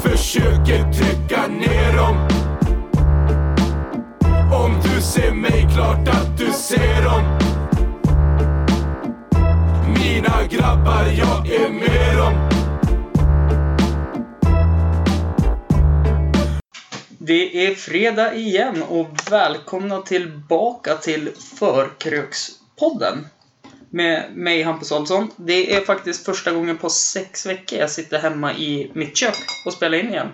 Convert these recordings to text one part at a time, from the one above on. försöker trycka ner dem Om du ser mig, klart att du ser dem Mina grabbar, jag är med dem Det är fredag igen och välkomna tillbaka till Förkrökspodden. Med mig Hampus Olsson. Det är faktiskt första gången på sex veckor jag sitter hemma i mitt kök och spelar in igen.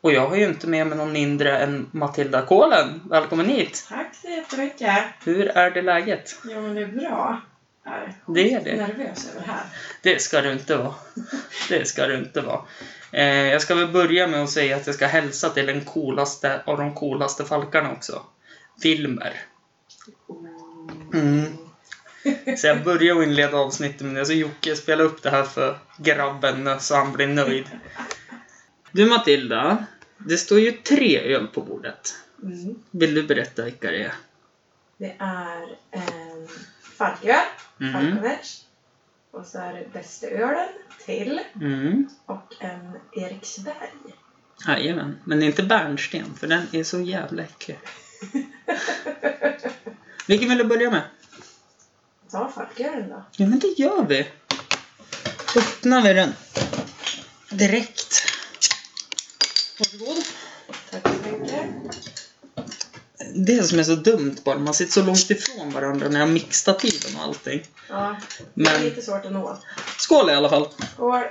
Och jag har ju inte med mig någon mindre än Matilda Kålen. Välkommen hit! Tack så jättemycket. Hur är det läget? Jo men det är bra. Här. Det är Jag är det. nervös över det här. Det ska du inte vara. Det ska du inte vara. Eh, jag ska väl börja med att säga att jag ska hälsa till den coolaste av de coolaste falkarna också. Filmer. Mm. Så jag börjar och inleder avsnittet med det. Så Jocke spelar upp det här för grabben så han blir nöjd. Du Matilda, det står ju tre öl på bordet. Mm. Vill du berätta vilka det är? Det är en falköl, Mm. falkoners. Och så är det bästölen till. Mm. Och en Eriksberg. Jajamän. Men det är inte bärnsten för den är så jävla äcklig. Vilken vill du börja med? Ta falkölen då. Ja men det gör vi. Öppnar vi den. Direkt. Varsågod. Tack så mycket. Det som är så dumt bara, man sitter så långt ifrån varandra när jag mixar tiden och allting. Ja, det är Men lite svårt att nå. skål i alla fall. Skål.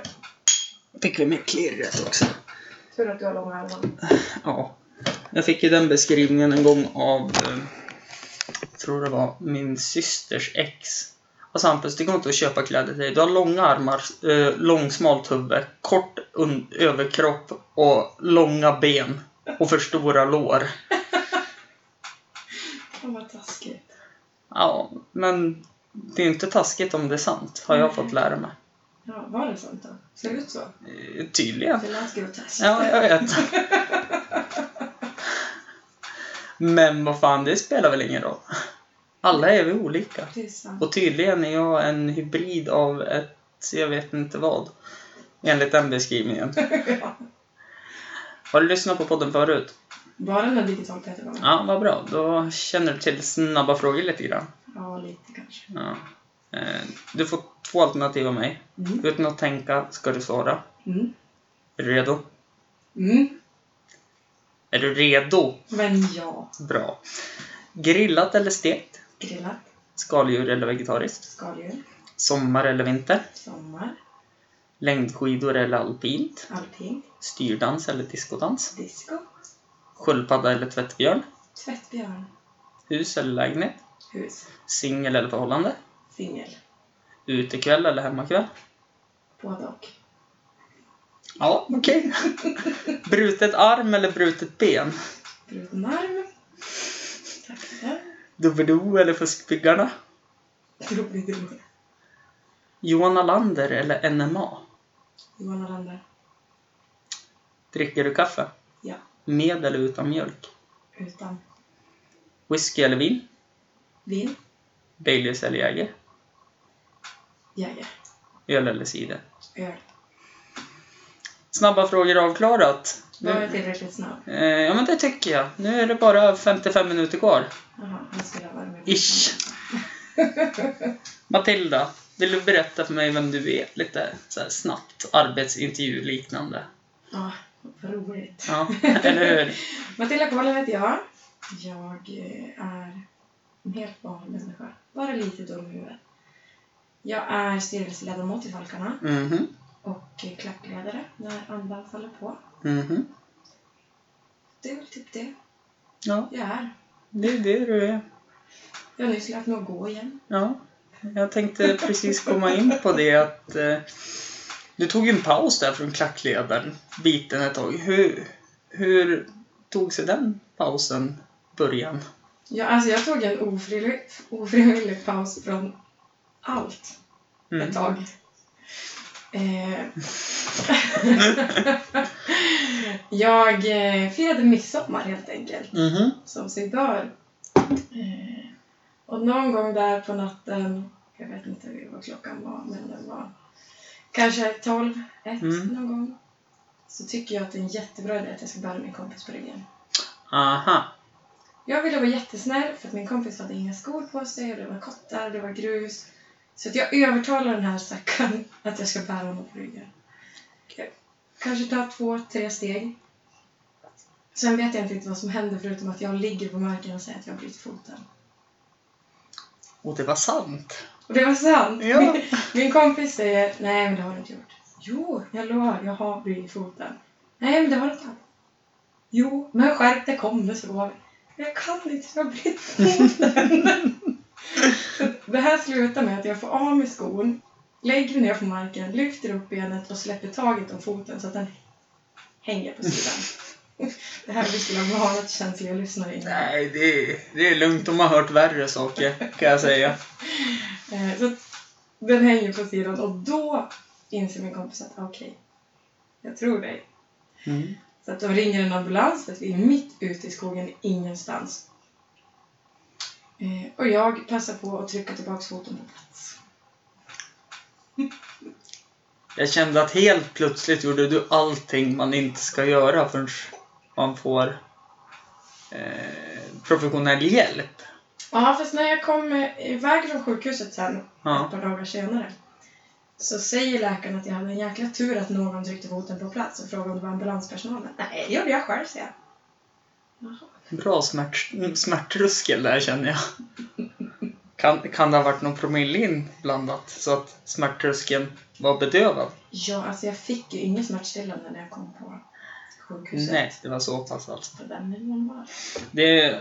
Fick vi med klirret också. Tur att du har långa armar. Ja. Jag fick ju den beskrivningen en gång av, eh, tror det var, min systers ex. Alltså Hampus, det går inte att köpa kläder till dig. Du har långa armar, eh, långsmalt huvud, kort un- överkropp och långa ben. Och för stora lår. Fan vad taskigt. Ja, men det är ju inte taskigt om det är sant, har jag fått lära mig. Ja, var det sånt då? Ser det ut så? Eh, Tydligen. Det lät groteskt. Ja, jag vet. Men vad fan, det spelar väl ingen roll. Alla är vi olika. Det är sant. Och tydligen är jag en hybrid av ett, jag vet inte vad. Enligt den beskrivningen. Ja. Har du lyssnat på podden förut? Bara när digitalt heter det. Ja, vad bra. Då känner du till snabba frågor lite grann. Ja, lite kanske. Ja. Eh, Du får två alternativ av mig. Mm. Utan att tänka ska du svara. Mm. Är du redo? Mm. Är du redo? Men ja, Bra. Grillat eller stekt? grillat, Skaldjur eller vegetariskt? skaldjur, Sommar eller vinter? sommar, Längdskidor eller alpint? allting, Styrdans eller diskodans? disco, Sköldpadda eller tvättbjörn? tvättbjörn, Hus eller lägenhet? hus, Singel eller förhållande? singel, Utekväll eller hemmakväll? både och. Ja, okej. brutet arm eller brutet ben? Bruten arm, taxen, Dubbel-O eller Fuskbyggarna? Robidrome, Johan Alander eller NMA? Johan Aranda, Dricker du kaffe? Ja. Med eller utan mjölk? utan, Whisky eller vin? vin, Baileys eller Jäger? jäger, Öl eller cider? öl. Snabba frågor avklarat. Var jag Nu, tillräckligt snabb? eh, ja men det tycker jag. Nu är det bara 55 minuter kvar. Jaha, han skulle ha varit med. Ish. Matilda, vill du berätta för mig vem du är? Lite så här snabbt arbetsintervju-liknande. Ja, vad roligt. Ja, eller hur? Matilda Kålen heter jag. Jag eh, är en helt vanlig människa, bara lite dum i huvudet. Jag är styrelseledamot i Falkarna. Mhm, och eh, klappledare när andan faller på. mhm. Det är väl typ det Ja, jag är. det är det du är. Jag har nyss lärt mig att gå igen. Ja, jag tänkte precis komma in på det att eh, du tog ju en paus där från klackledaren, biten ett tag. Hur, hur tog sig den pausen, början? Jag, alltså jag tog en ofrivillig, ofrivillig paus från allt Mm. ett tag. Eh, jag eh, firade midsommar helt enkelt, Mhm. som sig bör. Eh, och någon gång där på natten, jag vet inte vad klockan var, men den var kanske 12, 1 Mm. någon gång. så tycker jag att det är en jättebra idé att jag ska bära min kompis på ryggen. Aha. Jag ville vara jättesnäll för att min kompis hade inga skor på sig och det var kottar och det var grus. Så att jag övertalar den här stackaren att jag ska bära honom på ryggen. Okej. Kanske ta två, tre steg. Sen vet jag inte riktigt vad som händer förutom att jag ligger på marken och säger att jag har brutit foten. Och det var sant. Och det var sant! Ja. Min kompis säger nej men det har du inte gjort. Jo, jag lovar, jag har brutit foten. Nej men det har du inte. Jo, men skärp dig, kom nu så går vi. Jag kan inte, jag har brutit foten. så det här slutar med att jag får av mig skon, lägger mig ner på marken, lyfter upp benet och släpper taget om foten så att den hänger på sidan. det här vi skulle ha varnat känsliga lyssnare innan. Nej, det är, det är lugnt. De har hört värre saker, kan jag säga. Eh, Så att den hänger på sidan och då inser min kompis att okej, jag tror dig. Mm. Så att de ringer en ambulans för att vi är mitt ute i skogen ingenstans. Eh, och jag passar på att trycka tillbaka foten på plats. Jag kände att helt plötsligt gjorde du allting man inte ska göra förrän man får eh, professionell hjälp. Ja, fast när jag kom eh, iväg från sjukhuset sen ett Ja. par dagar senare så säger läkaren att jag hade en jäkla tur att någon tryckte foten på plats och frågade om det var ambulanspersonalen. Nej, det gjorde jag själv, säger jag. Jaha. Bra smärt, smärttröskel där känner jag. Kan, kan det ha varit någon promille inblandat så att smärttröskeln var bedövad? Ja, alltså jag fick ju ingen smärtstillande när jag kom på sjukhuset. Nej, det var så pass alltså. Så den är normal. Det,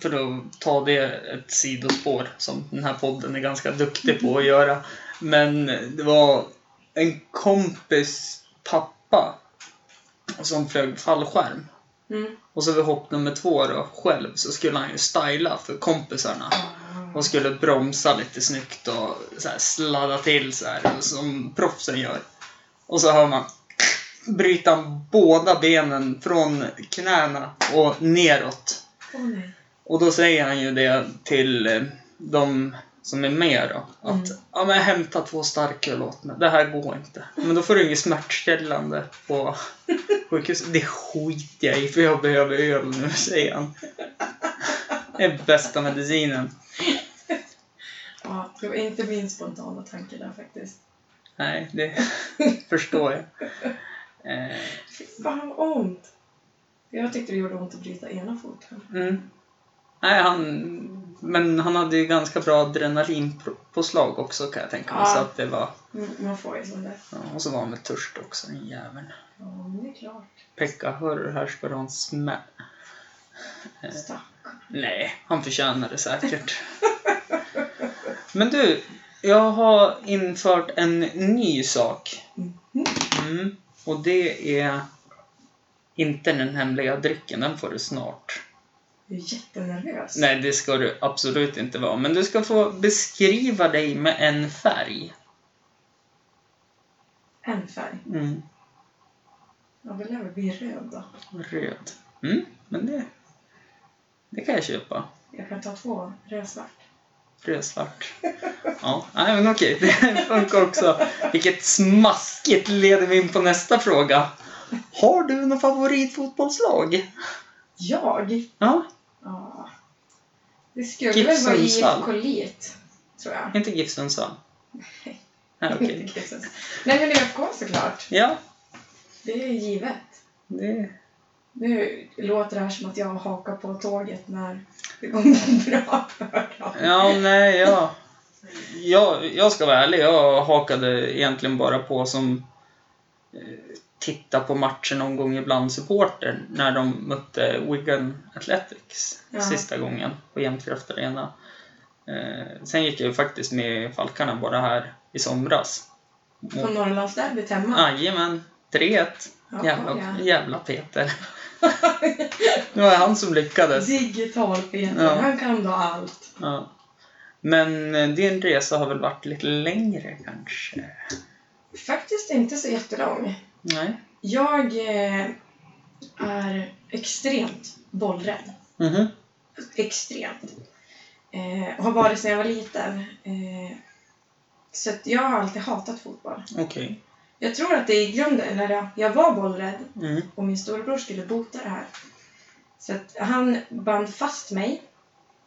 för att ta det ett sidospår som den här podden är ganska duktig på att göra. Men det var en kompis pappa som flög fallskärm. Mm. Och så vid hopp nummer två då, själv, så skulle han ju styla för kompisarna. Och skulle bromsa lite snyggt och så här sladda till så här, som proffsen gör. Och så hör man bryta han båda benen från knäna och neråt. Åh nej. Och då säger han ju det till eh, de som är med då. Att Mm. ja, men hämta två starköl åt mig. Det här går inte. Men då får du inget smärtställande på sjukhuset. Det skiter jag i för jag behöver öl nu, säger han. Det är bästa medicinen. Ja, det var inte min spontana tanke där faktiskt. Nej, det förstår jag. Eh, Fy fan vad ont! Jag tyckte det gjorde ont att bryta ena foten. mm. Nej, han... Men han hade ju ganska bra adrenalinpåslag också kan jag tänka mig. Ja. Så att det var... Mm, Man får ju sånt där. Ja, och så var han med törst också, den jäveln. Ja, men det är klart. Pekka, hör du här ska du ha en smäll. Stackarn. Nej, han förtjänar det säkert. Men du, jag har infört en ny sak. Mhm. Mm. Och det är inte den hemliga drycken, den får du snart. Jag är jättenervös. Nej, det ska du absolut inte vara. Men du ska få beskriva dig med en färg. En färg. Mm. Jag vill även bli röd då. Röd. Mm, men det, det kan jag köpa. Jag kan ta två rödsvart. Frösvart. Ja, nej men okej, det funkar också. Vilket smaskigt leder mig in på nästa fråga. Har du något favoritfotbollslag? Jag? Ja, Ja. Det skulle Gips väl vara Sundsvall. IFK Lit, tror jag. inte GIF Sundsvall? Nej, okej. Nej men ÖFK såklart. Ja, Det är givet. det... Nu låter det här som att jag hakar på tåget när det går bra för dem. Ja, nej, ja. Jag, jag ska vara ärlig, jag hakade egentligen bara på som eh, titta på matchen någon gång ibland supporter när de mötte Wigan Athletics Ja. sista gången på Jämtkraft Arena. Eh, sen gick jag ju faktiskt med i Falkarna bara här i somras. På Norrlandsderbyt hemma. Jajamän, 3-1. Ja, Jävla, ja. jävla Peter. det var han som lyckades. Digital Peter, Ja. han kan då allt. Ja. Men eh, din resa har väl varit lite längre kanske? Faktiskt inte så jättelång. Nej? Jag eh, är extremt bollrädd. Mhm. extremt. Eh, och har varit sedan jag var liten. Eh, så att jag har alltid hatat fotboll. Okej. Jag tror att det i grunden, eller ja, jag var bollrädd Mm. och min storebror skulle bota det här. Så att han band fast mig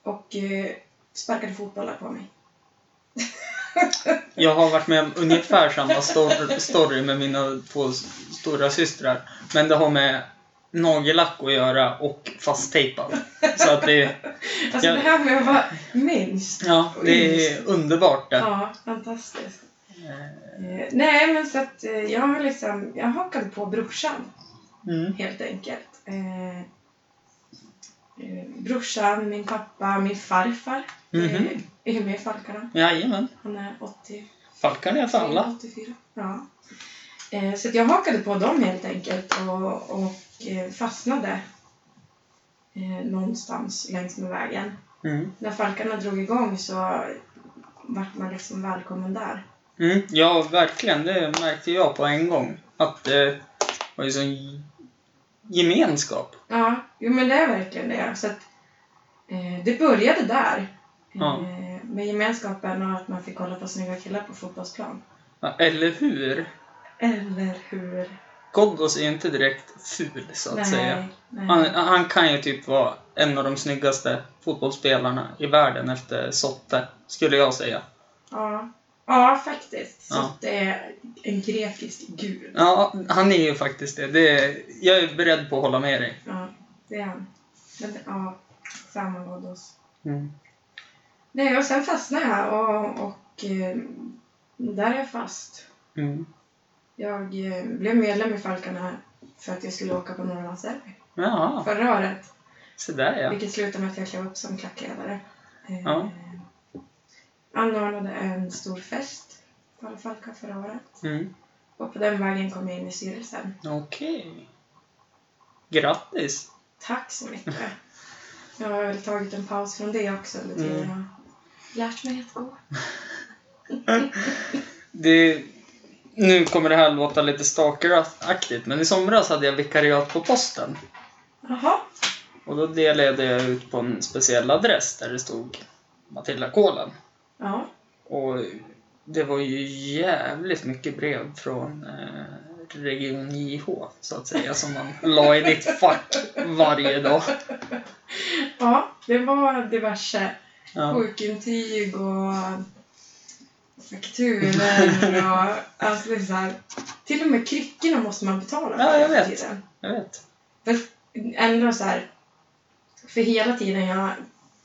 och eh, sparkade fotbollar på mig. Jag har varit med om ungefär samma stor- story med mina två s- stora systrar. Men det har med nagellack att göra och fasttejpad. Så att det, Alltså Ja. det här med att vara minst. ja, det är underbart det. Ja, fantastiskt. Eh, nej, men så att eh, jag har liksom, jag hakade på brorsan Mm. helt enkelt. Eh, eh, brorsan, min pappa, min farfar Mhm. eh, är med i Falkarna. Jajamän. Han är 80 Falkarna är för alla. 84. Ja. Eh, Så att jag hakade på dem helt enkelt och, och eh, fastnade eh, någonstans längs med vägen. Mm. När Falkarna drog igång så vart man liksom välkommen där. Mm. Ja, verkligen. Det märkte jag på en gång. Att det var ju sån gemenskap. Ja, jo men det är verkligen det. Så att, eh, det började där. Ja. Eh, med gemenskapen och att man fick kolla på snygga killar på fotbollsplan. Ja, Eller hur? Eller hur? Ghoddos är ju inte direkt ful, så att säga. nej. Han, han kan ju typ vara en av de snyggaste fotbollsspelarna i världen efter Sotte, skulle jag säga. Ja, ja faktiskt. Så Ja. att det är en grekisk gud. Ja, han är ju faktiskt det. det är, jag är beredd på att hålla med dig. Ja, det är han. Men, ja, samma vad oss. Mm, Nej, och sen fastnade jag och, och eh, där är jag fast. Mm. Jag eh, blev medlem i Falkarna för att jag skulle åka på Norrlandsderby Ja, förra året. så där ja. Vilket slutade med att jag klev upp som klackledare. Eh, Ja. Anordnade en stor fest på Falka förra året. Mm. Och på den vägen kom jag in i styrelsen. Okej. Grattis! Tack så mycket. Jag har väl tagit en paus från det också under tiden Mm. jag har lärt mig att gå. Det, nu kommer det här låta lite stalkeraktigt, men i somras hade jag vikariat på posten. Jaha. Och då delade jag ut på en speciell adress där det stod Matilda Kålen. Ja. Och det var ju jävligt mycket brev från eh, Region JH, så att säga, som man la i ditt fack varje dag. ja, det var diverse Ja. sjukintyg och fakturor och alltså det är så här. Till och med kryckorna måste man betala Ja, jag hela vet. tiden. Jag vet. För ändå så här. För hela tiden jag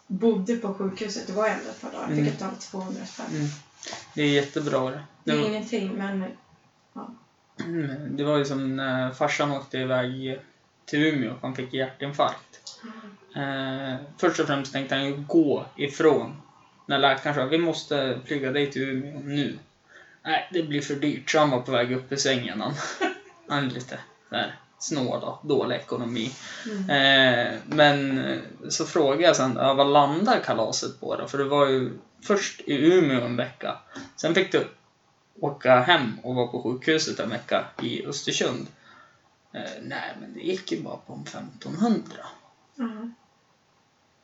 bodde på sjukhuset, det var ändå ett par dagar, jag fick Mm. betala 200 spänn. Mm. Det är jättebra det. Det Det är var, ingenting, men Mm, det var ju som när farsan åkte iväg till Umeå, han fick hjärtinfarkt. Eh, först och främst tänkte han ju gå ifrån. När läkaren sa vi måste flyga dig till Umeå nu. Nej, det blir för dyrt. Så han var på väg upp i sängen. Han, han är lite där, snål och dålig ekonomi. Mm. Eh, men eh, så frågade jag sen, ja, vad landar kalaset på då? För det var ju först i Umeå en vecka. Sen fick du åka hem och vara på sjukhuset en vecka i Östersund. Eh, nej, men det gick ju bara på en 1500. ja.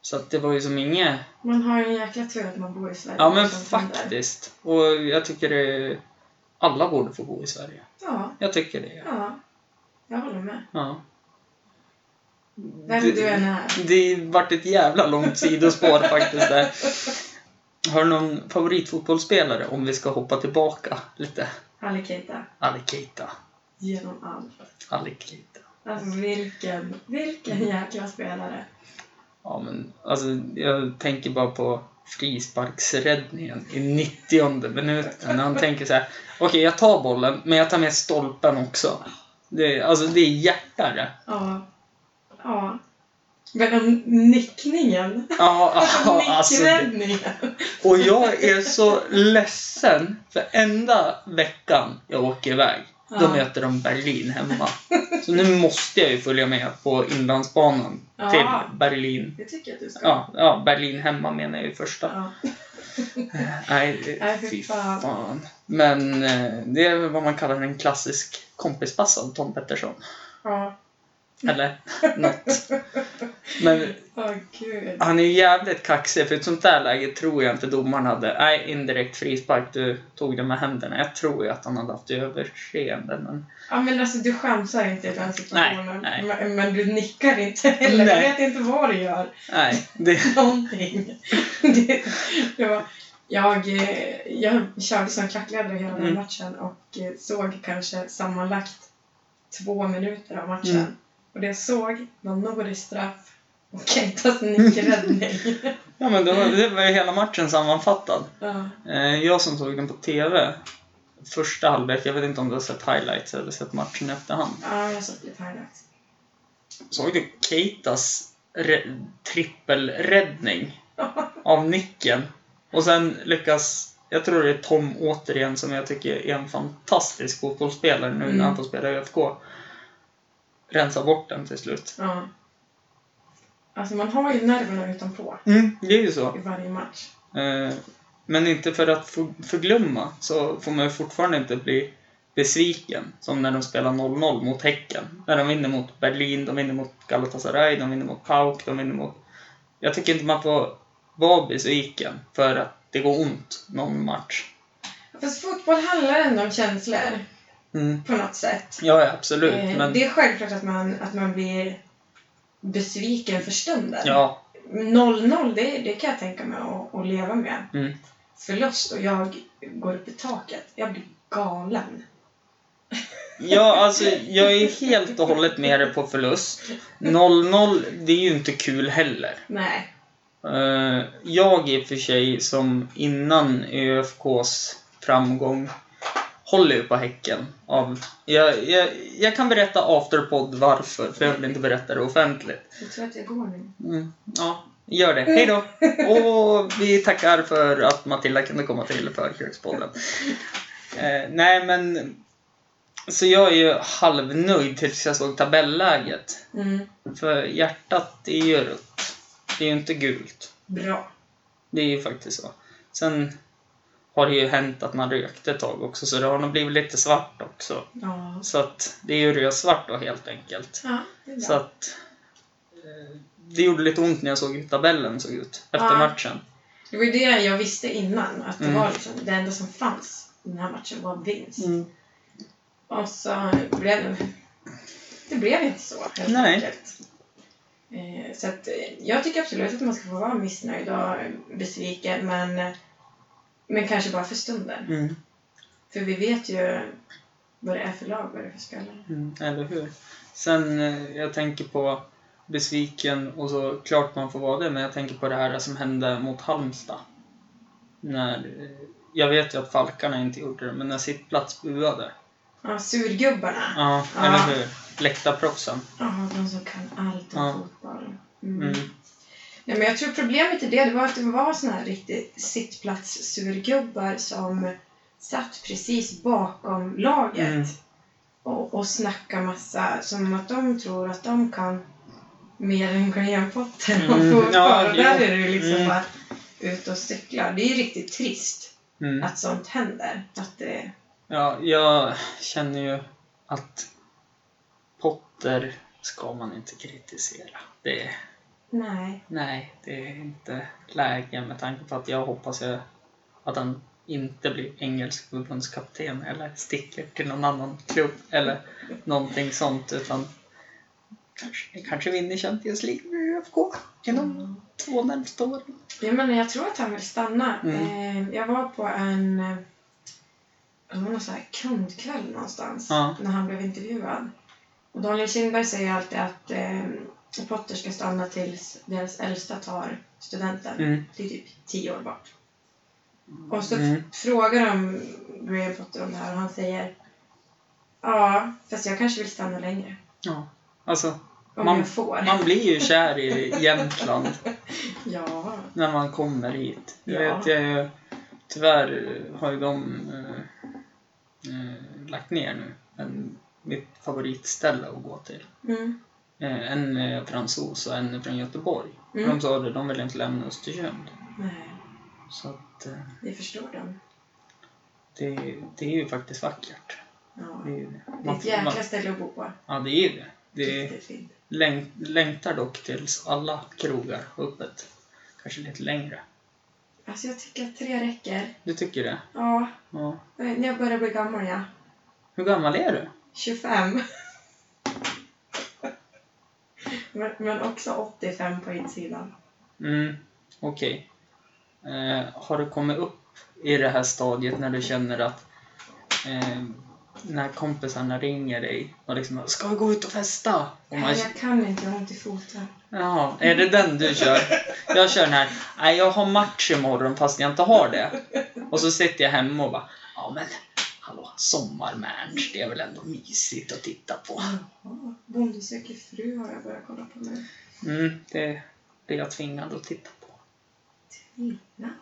Så att det var ju som inget... Man har ju en jäkla tur att man bor i Sverige. Ja, men Sånt händer. faktiskt. Och jag tycker det... Alla borde få bo i Sverige. Ja, Jag tycker det. ja. Jag håller med. Ja. Vem Det- du än är. Det vart ett jävla långt sidospår faktiskt där. Har du någon favoritfotbollsspelare om vi ska hoppa tillbaka lite? Halle Keita. Ali Keita. Genom allt. Ali Keita. Alltså vilken, vilken jäkla spelare. Ja men alltså jag tänker bara på frisparksräddningen i 90 minuten när han tänker så här. Okej jag tar bollen men jag tar med stolpen också. Det, är- alltså det är hjärta det. Ja. Ja. Men den nickningen. Ja, ja alltså. det- Nickräddningen. Och jag är så ledsen, för enda veckan jag åker iväg, då Ja. möter de Berlin hemma. Så nu måste jag ju följa med på Inlandsbanan Ja. till Berlin. Det tycker jag att du ska. Ja, ja, Berlin hemma menar jag ju första. Ja. Nej, Nej, fy fy fan. fan. Men eh, det är väl vad man kallar en klassisk kompispass av Tom Pettersson. ja. Eller något. Men Åh gud. han är ju jävligt kaxig, för i ett sånt där läge tror jag inte domaren hade... Nej, indirekt frispark, du tog det med händerna. Jag tror ju att han hade haft överseende, men... Ja men alltså du chansar inte i den situationen. Nej, nej. Men, men du nickar inte heller. Nej. Jag vet inte vad du gör. Nej, det... Någonting. Det, det var, jag, eh, jag körde som klackledare hela den Mm. matchen och eh, såg kanske sammanlagt två minuter av matchen. Mm. Och det jag såg var Noris straff och Kentas nickräddning. Ja, men det var, det var ju hela matchen sammanfattad. ja. Eh, Jag som såg den på TV, första halvlek, jag vet inte om du har sett highlights eller sett matchen i efterhand. ja, jag såg lite highlights. Såg du typ Keitas re- trippelräddning av nicken? Och sen lyckas, jag tror det är Tom återigen som jag tycker är en fantastisk fotbollsspelare nu Mm. när han får spela i ÖFK. Rensa bort den till slut. Ja. Alltså man har ju nerverna utanpå Det är ju så. i varje match. Eh, Men inte för att för- förglömma så får man ju fortfarande inte bli besviken. Som när de spelar 0-0 mot Häcken. När de vinner mot Berlin, de vinner mot Galatasaray, de vinner mot PAOK, de vinner mot... Jag tycker inte man får vara besviken för att det går ont någon match. Fast fotboll handlar ändå om känslor Mm. på något sätt. Ja, ja, absolut. Eh, men Det är självklart att man, att man blir besviken för stunden. ja, 0-0, det, det kan jag tänka mig att, att leva med. Mm. Förlust och jag går upp i taket. Jag blir galen. ja, alltså jag är helt och hållet med dig på förlust. 0-0, det är ju inte kul heller. Nej. Eh, jag i och för sig, som innan ÖFKs framgång, håller ju på Häcken. Av, jag, jag, jag kan berätta afterpod varför, för jag vill inte berätta det offentligt. Jag tror att jag går nu. Mm, ja, gör det. Hej då! Och vi tackar för att Matilda kunde komma till Förkrökspodden. Eh, nej, men... Så jag är ju halvnöjd tills jag såg tabelläget. Mm. För hjärtat är ju rött. Det är ju inte gult. Bra. Det är ju faktiskt så. Sen har det ju hänt att man rökte ett tag också, så det har nog blivit lite svart också. Ja. Så att det är ju rödsvart då helt enkelt. Ja, det är bra. Så att eh, det gjorde lite ont när jag såg hur tabellen såg ut efter Ja. matchen. Det var ju det jag visste innan. Att det Mm. var liksom, det enda som fanns i den här matchen var vinst. Och så blev det... Det blev inte så, helt Nej. enkelt. Eh, Så att eh, jag tycker absolut att man ska få vara missnöjd och eh, besviken, men, eh, men kanske bara för stunden. Mm. För vi vet ju vad det är för lag, vad det är för spelare. Mm. Eller hur? Sen, eh, jag tänker på besviken och så klart man får vara det, men jag tänker på det här som hände mot Halmstad. När, eh, jag vet ju att Falkarna inte gjorde det, men när sitt plats buade. Ja, surgubbarna. Ja, Ja. eller hur? Läktarproffsen. Ja, de som kan allt om Ja. fotboll. Mm. Mm. Nej, men jag tror problemet i det, det var att det var såna här riktigt sittplatssurgubbar som satt precis bakom laget Mm. och, och snackade massa, som att de tror att de kan mer än glenpotten och Mm, fotboll. ja, och där jo. är du liksom Mm. bara ute och cyklar. Det är ju riktigt trist Mm. att sånt händer. Att det, Ja, jag känner ju att Potter ska man inte kritisera. Det, nej. nej, det är inte läge med tanke på att jag hoppas jag, att han inte blir engelsk förbundskapten eller sticker till någon annan klubb eller någonting sånt utan kanske, kanske vinner Champions League med ÖFK inom Mm. två närmsta åren. Jag menar, jag tror att han vill stanna. Mm. Eh, jag var på en eh, det var någon sån här kundkväll någonstans Ja. när han blev intervjuad. Och Daniel Kindberg säger alltid att eh, Potter ska stanna tills deras äldsta tar studenten. Mm. Det är typ tio år bort. Och så Mm. frågar de Graham Potter om det här och han säger Ja, fast jag kanske vill stanna längre. Ja, alltså Om Man- jag får. man blir ju kär i Jämtland Ja. när man kommer hit. Jag Ja. vet jag ju, tyvärr har ju de eh, eh, lagt ner nu en, mitt favoritställe att gå till. Mm. Eh, en är fransos och en är från Göteborg. Mm. De sa det, de vill inte lämna Östersund. Nej, Så att eh, det förstår de. det, det är ju faktiskt vackert. Ja. Det är ju det. Det är Man, ett får- man, jäkla ställe att bo på. ja, det är ju det. Det Riktigt fint. läng- längtar dock tills alla krogar har öppet. Kanske lite längre. Alltså jag tycker att tre räcker. Du tycker det? Ja, eh, Ja. när jag börjar bli gammal ja. Hur gammal är du? 25. men, men också 85 på insidan. Mm, okej. Eh, har du kommit upp i det här stadiet när du känner att eh, när kompisarna ringer dig och liksom ”Ska vi gå ut och festa?” och man, Nej, jag kan inte, jag har ont i foten. Jaha, är det den du kör? Jag kör den här ”Nej, jag har match imorgon fast jag inte har det” och så sitter jag hemma och bara ”Ja men, hallå, sommarmatch, det är väl ändå mysigt att titta på?” Ja, Bonde söker fru har jag börjat kolla på nu. Mm, det blir jag tvingad att titta på. Mina?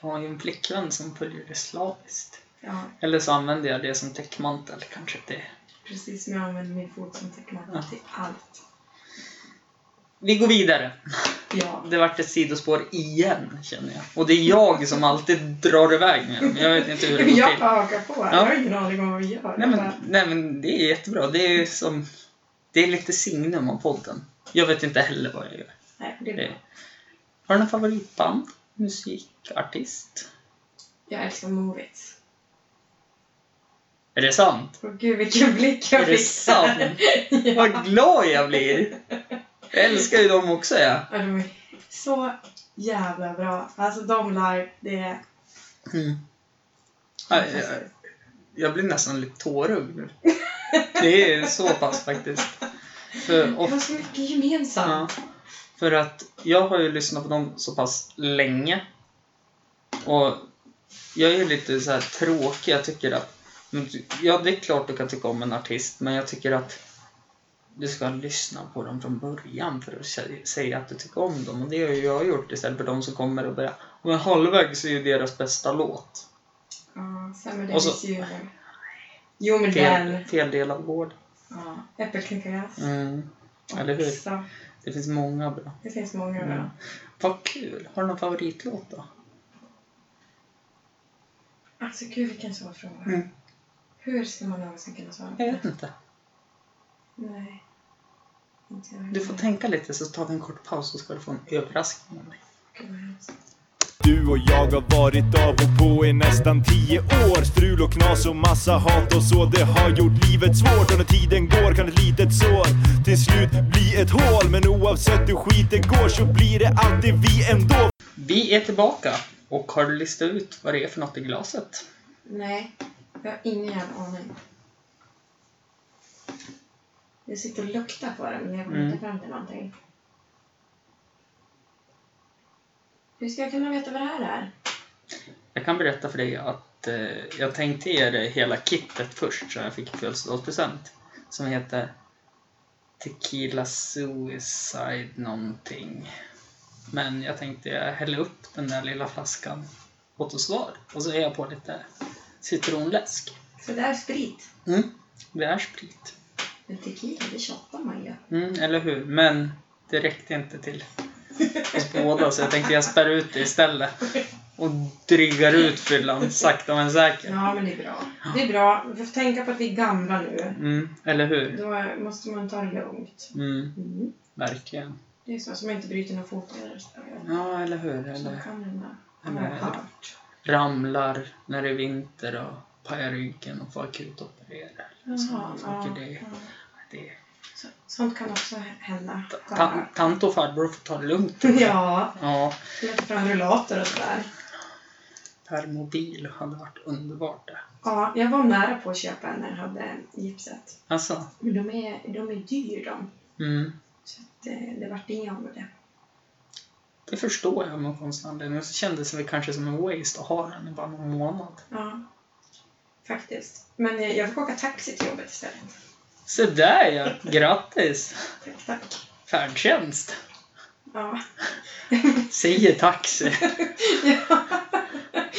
Jag har ju en flickvän som följer det slaviskt. Ja, Eller så använder jag det som täckmantel kanske till. precis som jag använder min fot som täckmantel Ja. till allt. Vi går vidare. Ja. Det vart ett sidospår igen känner jag. Och det är jag som alltid drar iväg med dem. Jag vet inte hur det går Jag till. bara hakar på. Jag har ingen aning om vad vi gör. Nej Jag men, bara, nej men det är jättebra. Det är som... Det är lite signum av podden. Jag vet inte heller vad jag gör. nej, det är Det bra. är... Har du någon favoritband? Musikartist? Jag älskar Movits. Är det sant? Åh gud vilken blick jag Är det fick där. sant? ja. Vad glad jag blir! Jag älskar ju dem också jag. Ja, de är så jävla bra. Alltså de live, det är... Mm. Ja, jag, jag blir nästan lite tårögd nu. Det är så pass faktiskt. För, De och, har så mycket gemensamt. ja, för att jag har ju lyssnat på dem så pass länge. Och jag är ju lite så här tråkig. Jag tycker att... men du- Ja, det är klart du kan tycka om en artist, men jag tycker att du ska lyssna på dem från början för att sä- säga att du tycker om dem. Och det har ju jag gjort istället för de som kommer och börjar... Men halvvägs är ju deras bästa låt. Ja, sen med Och så- Dennis Junior. Jo, men den. Fel, fel del av vård. Ja. Äppelknäckarjazz. Mm. Eller hur? Också. Det finns många bra. Det finns många bra. Mm. Vad kul! Har du någon favoritlåt då? Alltså gud vilken svår fråga. Mm. Hur ska man någonsin kunna svara på Jag det? vet inte. Nej. Inte jag Du får tänka lite så tar vi en kort paus så ska du få en överraskning av mig. Gud, vad hemskt. Du och jag har varit av och på i nästan tio år Strul och knas och massa hat och så Det har gjort livet svårt och när tiden går kan ett litet sår till slut bli ett hål Men oavsett hur skit det går så blir det alltid vi ändå Vi är tillbaka! Och har du listat ut vad det är för något i glaset? Nej, jag har ingen jävla aning. Jag sitter och luktar på den, men jag kommer Mm. inte fram till någonting. Hur ska jag kunna veta vad det här är? Jag kan berätta för dig att eh, jag tänkte ge dig hela kittet först som jag fick i födelsedagspresent. Som heter Tequila Suicide någonting. Men jag tänkte jag häller upp den där lilla flaskan åt oss var och så är jag på lite citronläsk. Så det är sprit. Mm. Det är sprit. Men tequila, det tjatar man ju. Mm, eller hur? Men det räckte inte till oss båda så jag tänkte jag spär ut det istället. Och drygar ut fyllan sakta men säkert. Ja, men det är bra. Det är bra. Vi får tänka på att vi är gamla nu. Mm, eller hur? Då måste man ta det lugnt. Mm, Mm. verkligen. Det är så, så man inte bryter några fotleder. Så där. Ja, eller hur? Så Eller kan hända. Har Eller- jag hört. ramlar när det är vinter och pajar ryggen och får akutoperera. Sådana Jaha, saker. ja, Det, ja. det. Så, sånt kan också hända. Ta, tant och farbror får ta det lugnt. Ja, Ja, leta fram rullator och sådär. permobil hade varit underbart det. Ja, jag var nära på att köpa en när jag hade gipset. Alltså, Men de är, de är dyr de. mm, Så att eh, det, det vart inga av det. det förstår jag av någon konstig anledning. Och så kändes det väl kanske som en waste att ha den i bara någon månad. Ja, faktiskt. Men jag, jag fick åka taxi till jobbet istället. Så där ja, grattis! Tack, tack. Färdtjänst! Ja. Säger taxi.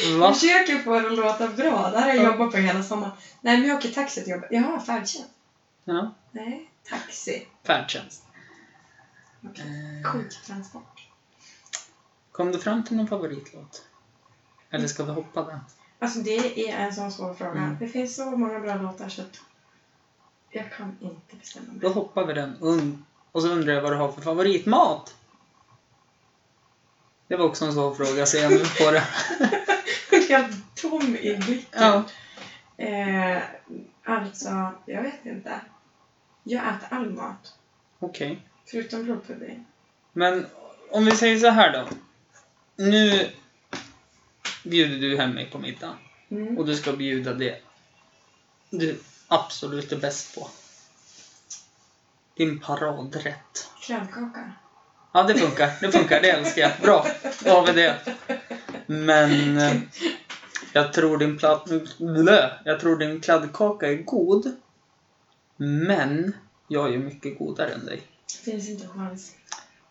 Jag Va? försöker få det att låta bra. Det här har jag Ja. jobbat på hela sommaren. Nej, men jag åker taxi till jobbet. Jaha, färdtjänst. Ja, Nej, taxi. färdtjänst. Okej. Eh, Sjuktransport. Kom du fram till någon favoritlåt? Eller ska vi hoppa den? Alltså det är en sån svår fråga. Mm. Det finns så många bra låtar så att Jag kan inte bestämma mig. Då hoppar vi den. Und- Och så undrar jag vad du har för favoritmat? Det var också en svår fråga, ser jag nu på det. Jag är helt tom i blicken. Ja. Eh, alltså, jag vet inte. Jag äter all mat. Okej. Förutom blodpudding. Men om vi säger så här då. Nu bjuder du hem mig på middag. Mm. Och du ska bjuda det du absolut är bäst på. Din paradrätt. Kladdkaka. Ja, det funkar. Det funkar. Det älskar jag. Bra. Då har vi det. Men eh, jag tror din platt... Blö. Jag tror din kladdkaka är god. Men jag är ju mycket godare än dig. Finns inte en chans.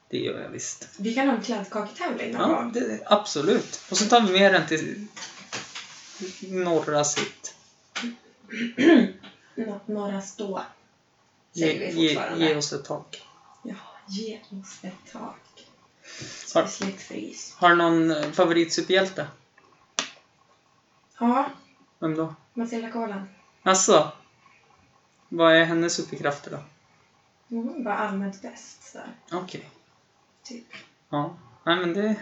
Det gör jag visst. Vi kan ha en kladdkaketävling någon Ja, gång. det, absolut. Och så tar vi med den till norra sitt. Nå- Några stå. Säger Ge, vi ge, fortfarande. ge oss ett tak. Ja, ge oss ett tak. Har, Släktfris. har du någon eh, favoritsuperhjälte? Ja, Vem då? Matilda Kolan. Alltså, Vad är hennes superkrafter då? Hon var allmänt bäst. Så, här, Okej. typ. Ja. Nej men det...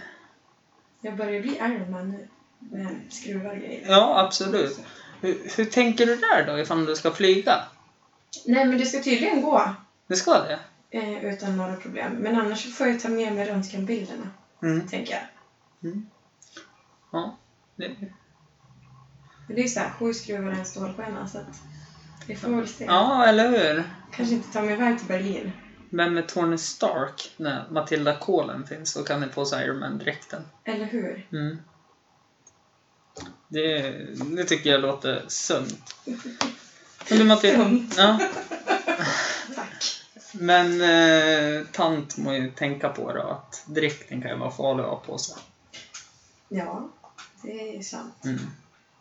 Jag börjar bli Iron Man nu. Med skruvar och grejer. Ja, absolut. Hur, hur tänker du där då, ifall du ska flyga? Nej, men det ska tydligen gå. Det ska det? Eh, utan några problem. Men annars så får jag ta med mig röntgenbilderna, Mm. tänker jag. Ja. Det, Men det är ju såhär, sju skruvar och en stålskena, så att vi får väl se. ja, eller hur? Kanske inte ta mig iväg till Berlin. Vem är Tony Stark när Matilda Kolen finns och kan ni på sig Iron Man-dräkten? Eller hur? Mm. Det, det tycker jag låter sunt. Men du Matilda, Sunt. ja, Tack. men eh, tant må ju tänka på då att dräkten kan ju vara farlig att ha på sig. Ja, det är ju sant. Mm.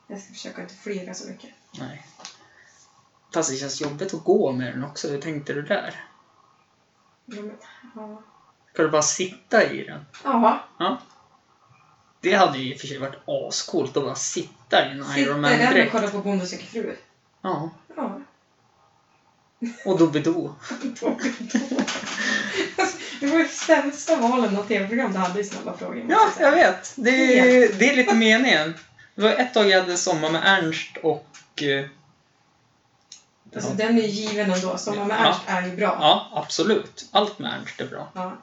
Jag ska försöka inte flyga så mycket. Nej. Fast det känns jobbigt att gå med den också, hur tänkte du där? Ja, men, ja. Ska du bara sitta i den? ja. Ja. Det hade ju i och för sig varit ascoolt att bara sitta i en sitter Iron där och Man-dräkt. kollar på Bonde söker fru. Ja, Ja. och Doobidoo. Det var ju sämsta valen av tv-program du hade i Snabba frågor. måste Ja, säga. jag vet. Det är, det är lite meningen. Det var ett tag jag hade Sommar med Ernst och... eh, Alltså den är ju given ändå. Sommar med Ja. Ernst är ju bra. Ja, absolut. Allt med Ernst är bra. Ja.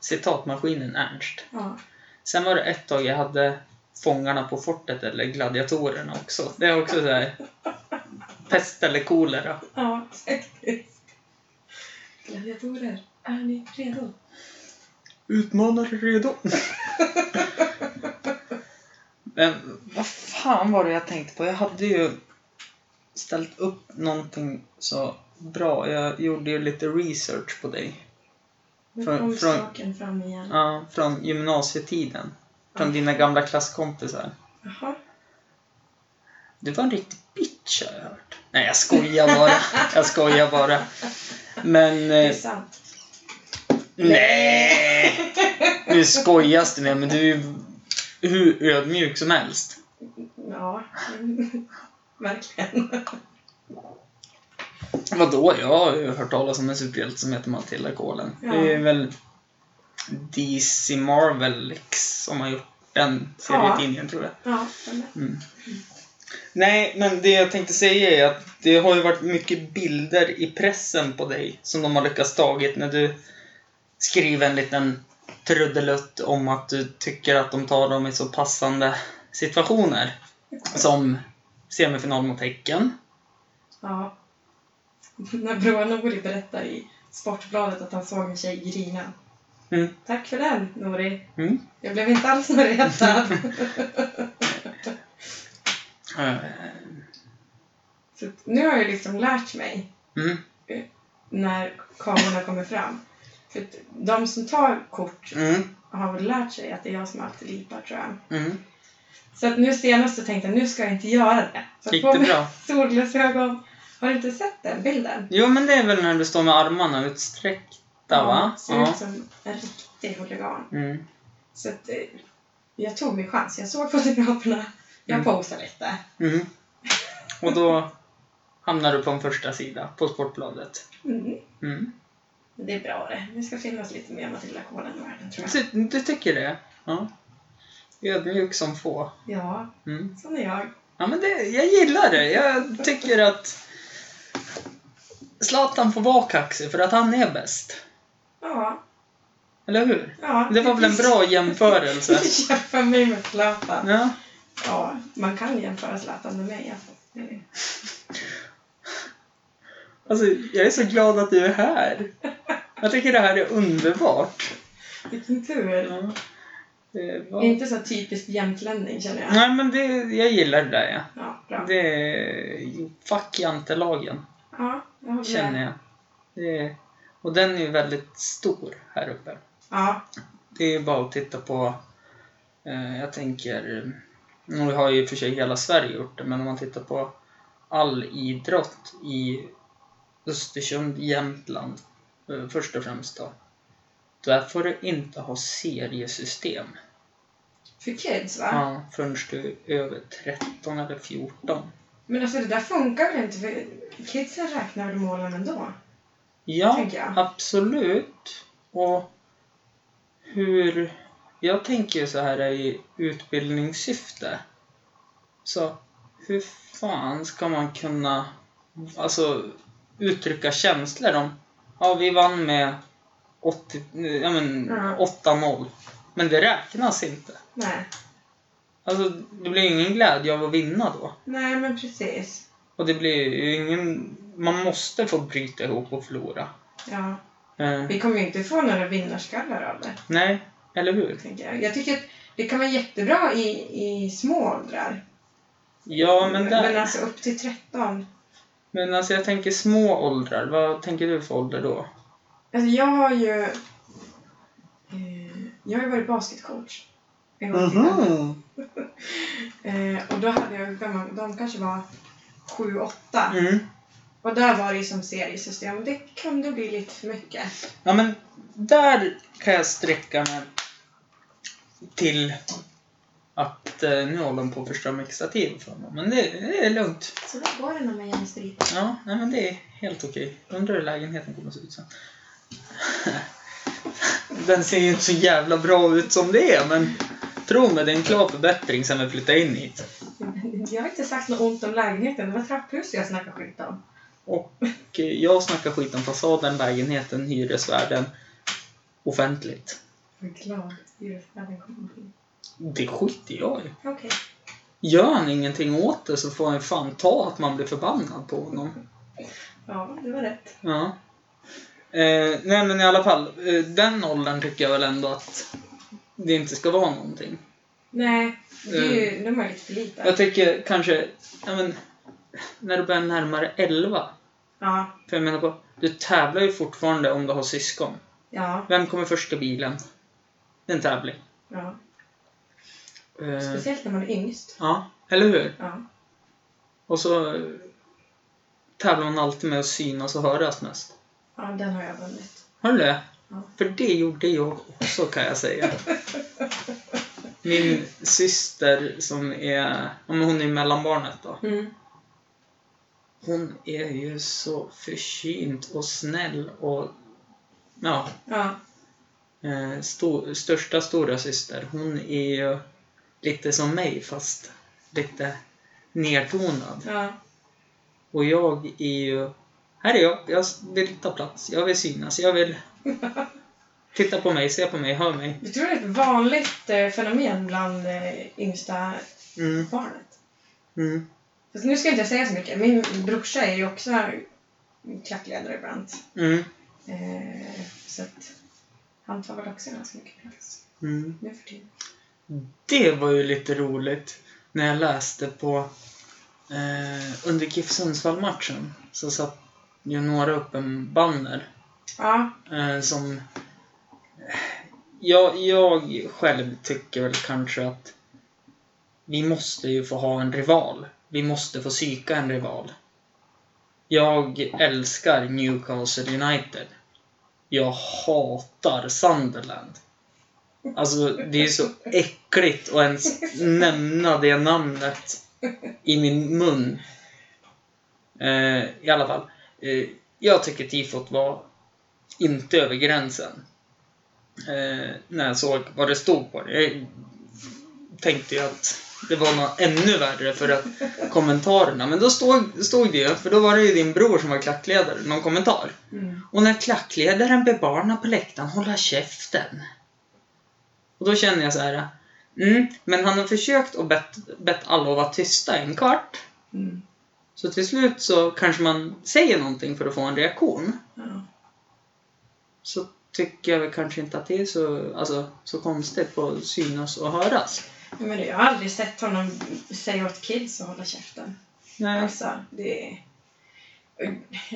Citatmaskinen Ernst. ja. Sen var det ett tag jag hade Fångarna på fortet eller Gladiatorerna också. Det är också så här. Pest eller kolera. Ja, faktiskt. Gladiatorer, är ni redo? Utmanare redo. Men vad fan var det jag tänkte på? Jag hade ju ställt upp någonting så bra. Jag gjorde ju lite research på dig. Nu Från- kom från- saken fram igen. Ja, från gymnasietiden. Från dina Eh. gamla klasskompisar. Jaha. Du var en riktig bitch har jag hört. Nej, jag skojar bara. Jag skojar bara. Men... Det är Eh, sant. nej! Nu skojas det med men du är ju hur ödmjuk som helst. Ja, mm, verkligen. Vadå? Jag har ju hört talas om en superhjälte som heter Matilda Kolen. Ja. Det är väl DC Marvel som har gjort den serietidningen tror jag. Ja, stämmer. Nej, men det jag tänkte säga är att det har ju varit mycket bilder i pressen på dig som de har lyckats tagit när du skriver en liten trudelutt om att du tycker att de tar dem i så passande situationer. Som semifinal mot Häcken. ja. När Broa Nori berättar i Sportbladet att han såg en tjej grina. Mm. Tack för den, Nori. Mm. Jag blev inte alls något retad. Eh, Så att nu har jag liksom lärt mig Mm. när kamerorna kommer fram. För att de som tar kort Mm. har väl lärt sig att det är jag som alltid lipar, tror jag. Mm. Så att nu senast så tänkte jag nu ska jag inte göra det. Så Gick på det mig bra? solglasögon. Har du inte sett den bilden? Jo, men det är väl när du står med armarna utsträckta, va? Ser Ja. ut som en riktig huligan. Mm. Så att eh, jag tog min chans. Jag såg fotograferna. Jag Mm. posade lite. Mm. Och då hamnar du på en första sida på Sportbladet. Mm. Mm. Men Det är bra det. Det ska finnas lite mer Matilda Kolan i världen tror jag. Du, du tycker det? Ja. Ödmjuk som få. Ja, Mm. sån är jag. Ja, men det, jag gillar det. Jag tycker att Zlatan får vara kaxig för att han är bäst. Ja, Eller hur? ja. Det var väl en bra jämförelse? Jämför mig med Zlatan. Ja. Ja, man kan jämföra Zlatan med mig alltså. Det är- Alltså, jag är så glad att du är här. Jag tycker det här är underbart. Vilken tur. Ja. Det var... Inte så typiskt jämtlänning känner jag. Nej, men det, jag gillar det där, ja. Ja, bra. Det är... Fuck jantelagen, Ja, jag håller känner jag. Det är... Och den är ju väldigt stor här uppe. Ja, Det är bara att titta på... Eh, jag tänker... Nu har ju i och för sig hela Sverige gjort det, men om man tittar på all idrott i Östersund, Jämtland, eh, först och främst då. Där får du inte ha seriesystem. för kids va? Ja, förrän du är över 13 eller 14. Men alltså det där funkar väl inte för kidsen räknar väl målen ändå? Ja, tänker jag. absolut. Och hur... Jag tänker ju så här i utbildningssyfte. Så hur fan ska man kunna alltså, uttrycka känslor om... Ja, vi vann med 80, ja, men, Mm. 8-0. Men det räknas inte. Nej. Alltså, det blir ingen glädje av att vinna då. Nej men precis. Och det blir ju ingen... Man måste få bryta ihop och förlora. Ja. Eh, Vi kommer ju inte få några vinnarskallar av det. nej, eller hur? Tänker jag. jag tycker att det kan vara jättebra i, i små åldrar. Ja, men men där... alltså upp till 13. Men alltså jag tänker små åldrar. Vad tänker du för ålder då? Alltså jag har ju... Eh, jag har ju varit basketcoach. En gång i Mhm. tiden. eh, Och då hade jag, hur gammal- de kanske var 7-8. Mm. Och där var det ju som seriesystem. Det kunde bli lite för mycket. Ja, men där kan jag sträcka mig till att eh, nu håller de på att förstöra mitt stativ för mig. Men det, det är lugnt. Så där går det när man gärna stryk. Ja, nej, men det är helt okej. Undrar hur lägenheten kommer att se ut sen. Den ser ju inte så jävla bra ut som det är, men tro mig, det är en klar förbättring sen vi flyttade in hit. Jag har inte sagt något ont om lägenheten. Det var trapphuset jag snackade skit om. Och eh, jag snackar skit om fasaden, lägenheten, hyresvärden offentligt. Jag är glad hyresvärden kom. Det skiter jag i. Okej. Gör han ingenting åt det så får han fan ta att man blir förbannad på honom. Ja, det var rätt. Ja. Eh, nej men i alla fall, eh, den åldern tycker jag väl ändå att det inte ska vara någonting. Nej, det är ju, nu är man lite för Eh. Jag liten. tycker kanske, ja men, när du börjar närmare 11. Ja, För jag menar på, du tävlar ju fortfarande om du har syskon. ja, Vem kommer först i bilen? Det är en tävling. ja. Eh, Speciellt när man är yngst. ja, eller hur? Ja. Och så eh, tävlar man alltid med att synas och höras mest. ja, den har jag vunnit. Har du det? Ja. För det gjorde jag också kan jag säga. Min syster som är, ja, men hon är mellanbarnet då. Mm. Hon är ju så försynt och snäll och ja, Ja, eh, sto, största stora syster. Hon är ju lite som mig fast lite nedtonad. ja, Och jag är ju, här är jag, jag vill ta plats, jag vill synas, jag vill titta på mig, se på mig, hör mig. Jag tror det är ett vanligt eh, fenomen bland eh, yngsta Mm, barnet. mm. Fast nu ska jag inte säga så mycket. Min brorsa är ju också klackledare ibland. Mm. Eh, så att han tar väl också ganska mycket plats Mm. nu för tiden. Det var ju lite roligt när jag läste på eh, under GIF Sundsvall-matchen så satt ju några upp en banner Ja, eh, som jag, jag själv tycker väl kanske att vi måste ju få ha en rival. Vi måste få psyka en rival. Jag älskar Newcastle United. Jag hatar Sunderland. Alltså, det är så äckligt att ens nämna det namnet i min mun. Eh, I alla fall. Eh, jag tycker tifot var inte över gränsen. Eh, när jag såg vad det stod på det. Jag tänkte ju att det var något ännu värre för att kommentarerna. Men då stod, stod det ju, för då var det ju din bror som var klackledare, någon kommentar. Mm. Och när klackledaren ber barnen på läktaren hålla käften. Och då känner jag så här. Mm, men han har försökt och bett, bett alla att vara tysta en kvart. Mm. Så till slut så kanske man säger någonting för att få en reaktion. Ja. Så tycker jag väl kanske inte att det är så, alltså, så konstigt på att synas och höras. Men jag har aldrig sett honom säga åt kids att hålla käften. Nej. Alltså, det...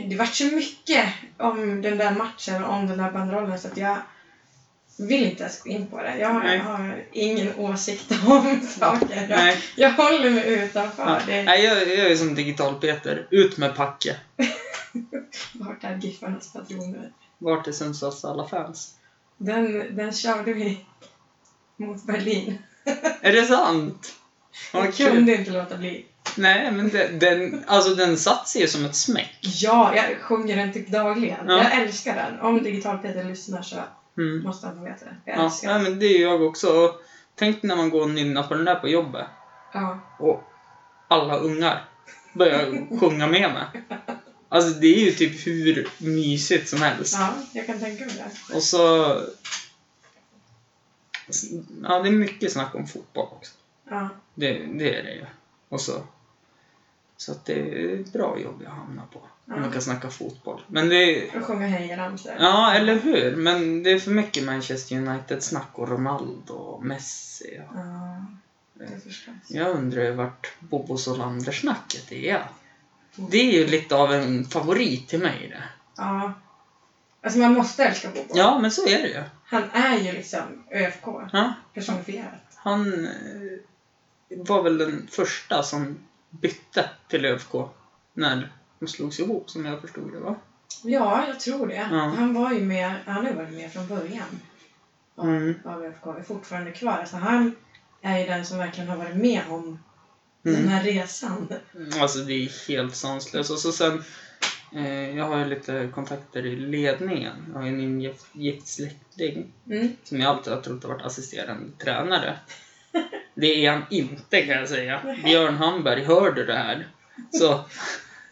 Det vart så mycket om den där matchen och om den där banderollen så att jag vill inte ens gå in på det. Jag har, Nej. jag har ingen åsikt om saker. Jag, Nej. jag håller mig utanför. Ja. Det, Nej, jag, jag är som digital-Peter. Ut med Packe. vart är Giffarnas patroner? Vart är Sundsvalls alla fans? Den, den körde vi mot Berlin. Är det sant? Vad jag kul. kunde inte låta bli. Nej, men det, den, alltså den satt sig ju som ett smäck. Ja, jag sjunger den typ dagligen. Ja. Jag älskar den. Om Digital-Peter lyssnar så Mm. måste han få veta det. Jag Ja, älskar nej, den. men det är ju jag också. Och tänk när man går och nynnar på den där på jobbet Ja. och alla ungar börjar sjunga med mig. Alltså det är ju typ hur mysigt som helst. ja, jag kan tänka mig det. Och så... alltså, Ja, det är mycket snack om fotboll också. Ja. Det, det är det ju. Och så... Så att det är ett bra jobb jag hamnar på. Om man kan snacka fotboll. Men det Och sjunga hejaramsor. Ja, eller hur? Men det är för mycket Manchester United-snack och Ronaldo och Messi. Och... Ja, det förstås. Jag undrar ju vart Bobo Solander-snacket är. Det är ju lite av en favorit till mig det. Ja. Alltså man måste älska Bobo. Ja, men så är det ju. Han är ju liksom ÖFK Ja, personifierat. han eh, var väl den första som bytte till ÖFK när de slogs ihop, som jag förstod det va? Ja, jag tror det. Ja. Han var ju med, han har ju varit med från början av- Mm. av ÖFK. Är fortfarande kvar. Alltså han är ju den som verkligen har varit med om den Mm. här resan. Alltså det är helt sanslöst. Och så sen, eh, jag har ju lite kontakter i ledningen. Jag har ju en ingift gift släkting Mm. som jag alltid har trott har varit assisterande tränare. Det är han inte kan jag säga. Björn Hamberg, hör du det här? Så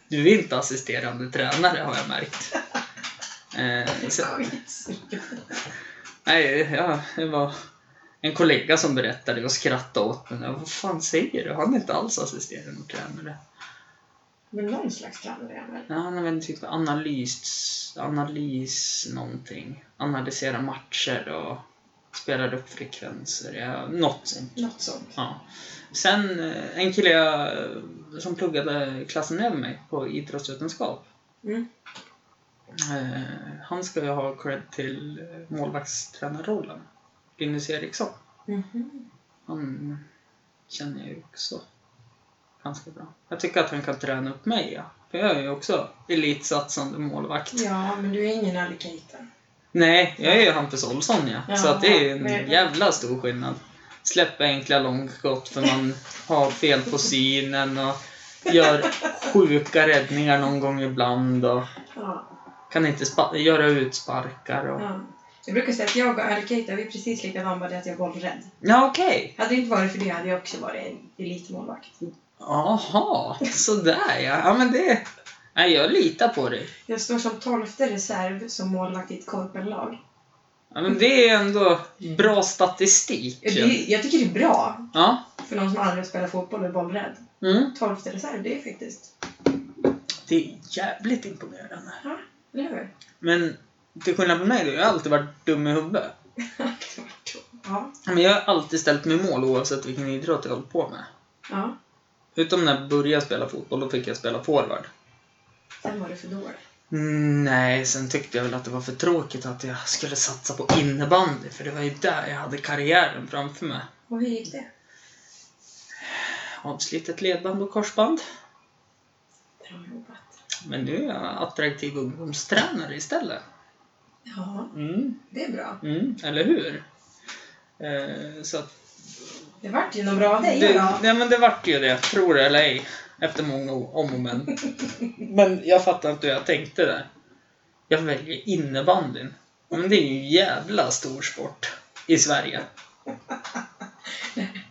du är inte assisterande tränare har jag märkt. Eh, så, Skitsur. nej, ja, det var en kollega som berättade och skrattade åt mig. Vad fan säger du? Han är inte alls assisterande tränare. Men någon slags tränare är han väl? Ja, han använder typ analys, analys någonting. Analysera matcher och spelar upp frekvenser. Ja, något sånt. Något sånt. Ja. Sen eh, en kille jag, eh, som pluggade klassen över mig på idrottsvetenskap. Mm. Eh, han ska ju ha cred till eh, målvaktstränarrollen. Linus Eriksson. Mhm. Han känner jag ju också ganska bra. Jag tycker att han kan träna upp mig, ja. För jag är ju också elitsatsande målvakt. Ja, men du är ingen alligator. Nej, jag är ju Hampus Olsson, ja. Så att det är ju en Jaha, men- jävla stor skillnad. Släppa enkla långskott för man har fel på synen och gör sjuka räddningar någon gång ibland och Ja. kan inte spa- göra utsparkar och... Ja. Jag brukar säga att jag och Alkeita, vi är precis likadana bara det att jag är bollrädd. Ja, okej. Hade det inte varit för det hade jag också varit en elitmålvakt. Jaha, sådär ja. Ja, men det... Nej, jag litar på dig. Jag står som tolfte reserv som målvakt i ett korpenlag. Ja, men det är ändå bra statistik. Det är- Jag tycker det är bra Ja. för någon som aldrig spelar fotboll och är bollrädd. Mm. Tolfte reserv, det är faktiskt... Det är jävligt imponerande. Ja, eller hur? Men till skillnad från mig, då, jag har alltid varit dum i huvudet. Ja. Men jag har alltid ställt mig i mål oavsett vilken idrott jag hållit på med. ja. Utom när jag började spela fotboll, då fick jag spela forward. Sen var det för dåligt. Mm, Nej, sen tyckte jag väl att det var för tråkigt att jag skulle satsa på innebandy, för det var ju där jag hade karriären framför mig. Och hur gick det? Avslitet ledband och korsband. Bra jobbat. Men nu är jag attraktiv ungdomstränare istället. Ja, Mm. det är bra. Mm, eller hur? Eh, så att Det vart ju någon bra dig det, idag. nej, men det vart ju det, tror det eller ej. Efter många om och men. Men jag fattar inte hur jag tänkte där. Jag väljer innebandyn. Ja, Men det är ju en jävla stor sport i Sverige.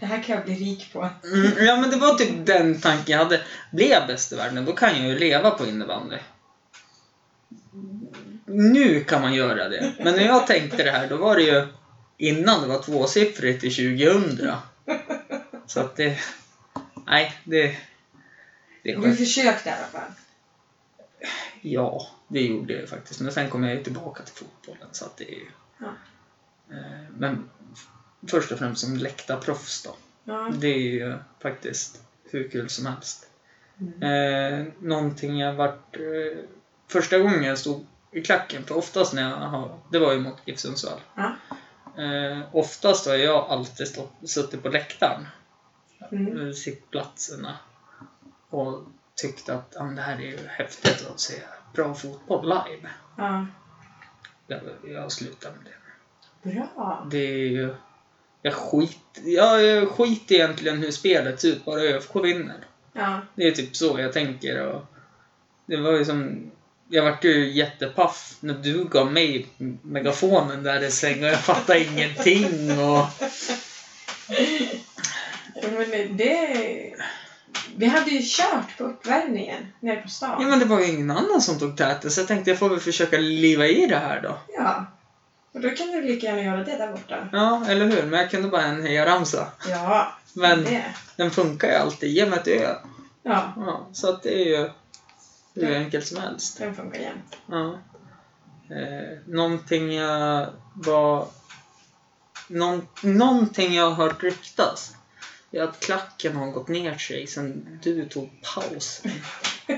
Det här kan jag bli rik på. Mm, ja men det var typ den tanken jag hade. Blir jag bäst i världen, då kan jag ju leva på innebandy. Nu kan man göra det. Men när jag tänkte det här, då var det ju innan det var tvåsiffrigt i 2000. Så att det... Nej, det... Det är Du skönt. försökte i alla fall. Ja, det gjorde jag ju faktiskt. Men sen kom jag ju tillbaka till fotbollen, så att det är ju... Ja. Eh, Men först och främst som läktarproffs då. Ja. Det är ju faktiskt hur kul som helst. Mm. Eh, någonting jag varit... Eh, första gången jag stod i klacken, för oftast när jag har... Det var ju mot GIF Sundsvall. Ja. Eh, oftast har jag alltid stått, suttit på läktaren, Mm. eh, sittplatserna. Och tyckt att ah, men det här är ju häftigt att se bra fotboll live. Ja. Jag, jag slutar med det. Bra. Det är ju... Jag skit, jag, jag skiter egentligen hur spelet ser ut, bara ÖFK vinner. Ja. Det är typ så jag tänker och det var ju som jag vart ju jättepaff när du gav mig megafonen där i sängen och jag fattade ingenting och Ja, Men det- det... Vi hade ju kört på uppvärmningen nere på stan. ja men det var ju ingen annan som tog täten så jag tänkte jag får väl försöka liva i det här då. Ja. Och då kan du lika gärna göra det där borta. Ja, eller hur? Men jag kunde bara en hejaramsa. Ja. Men Det. den funkar ju alltid, ge mig ett ö. Ja. Ja, så att det är ju hur enkelt som helst. Den funkar jämt. Ja. Eh, någonting jag var... Någon, någonting jag har hört ryktas är att klacken har gått ner sig sen du tog paus. Det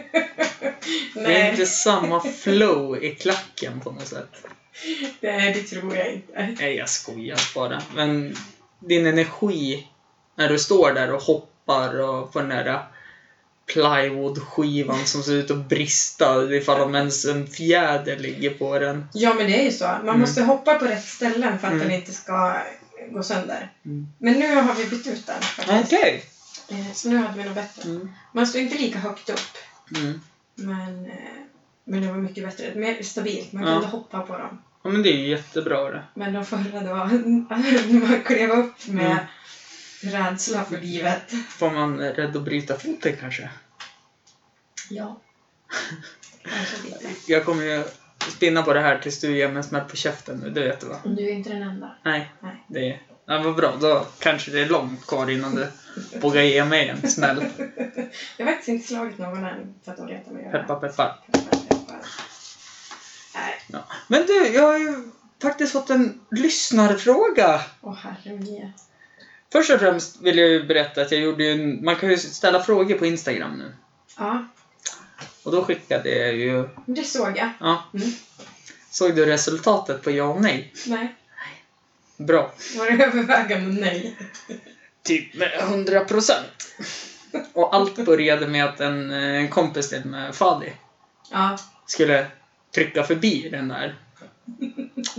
är Nej, inte samma flow i klacken på något sätt. det, det tror jag inte. Nej, jag skojar bara. Men din energi när du står där och hoppar och på den där plywoodskivan som ser ut att brista ifall om ens en fjäder ligger på den. Ja, men det är ju så. Man Mm. måste hoppa på rätt ställen för att Mm. den inte ska gå sönder. Mm. Men nu har vi bytt ut den. Okej! faktiskt. Eh, Så nu hade vi något bättre. Mm. Man står inte lika högt upp. Mm. Men, eh, men det var mycket bättre. Mer stabilt. Man Ja. kunde hoppa på dem. Ja men det är ju jättebra det. Men de förra då, när man klev upp med Mm. rädsla för livet. Får man eh, rädd att bryta foten kanske? Ja. Kanske lite. Jag kommer ju spinna på det här tills du ger mig en smäll på käften nu, det vet du va? Du är inte den enda. Nej. Nej. Det är... Ja, vad bra, då kanske det är långt kvar innan du vågar ge mig en smäll. Jag har faktiskt inte slagit någon än för att de retar mig. att göra det. Peppar peppar. Peppar, peppar. Nej, Ja. Men du, jag har ju faktiskt fått en lyssnarfråga. åh herre min. Först och främst vill jag ju berätta att jag gjorde ju en... Man kan ju ställa frågor på Instagram nu. Ja, Och då skickade jag ju... men det såg jag. Ja. Mm. Såg du resultatet på ja och nej? Nej, Bra. var det övervägande nej? Typ med 100 procent. Och allt började med att en, eh, en kompis till med Fadi Ja, skulle trycka förbi den där.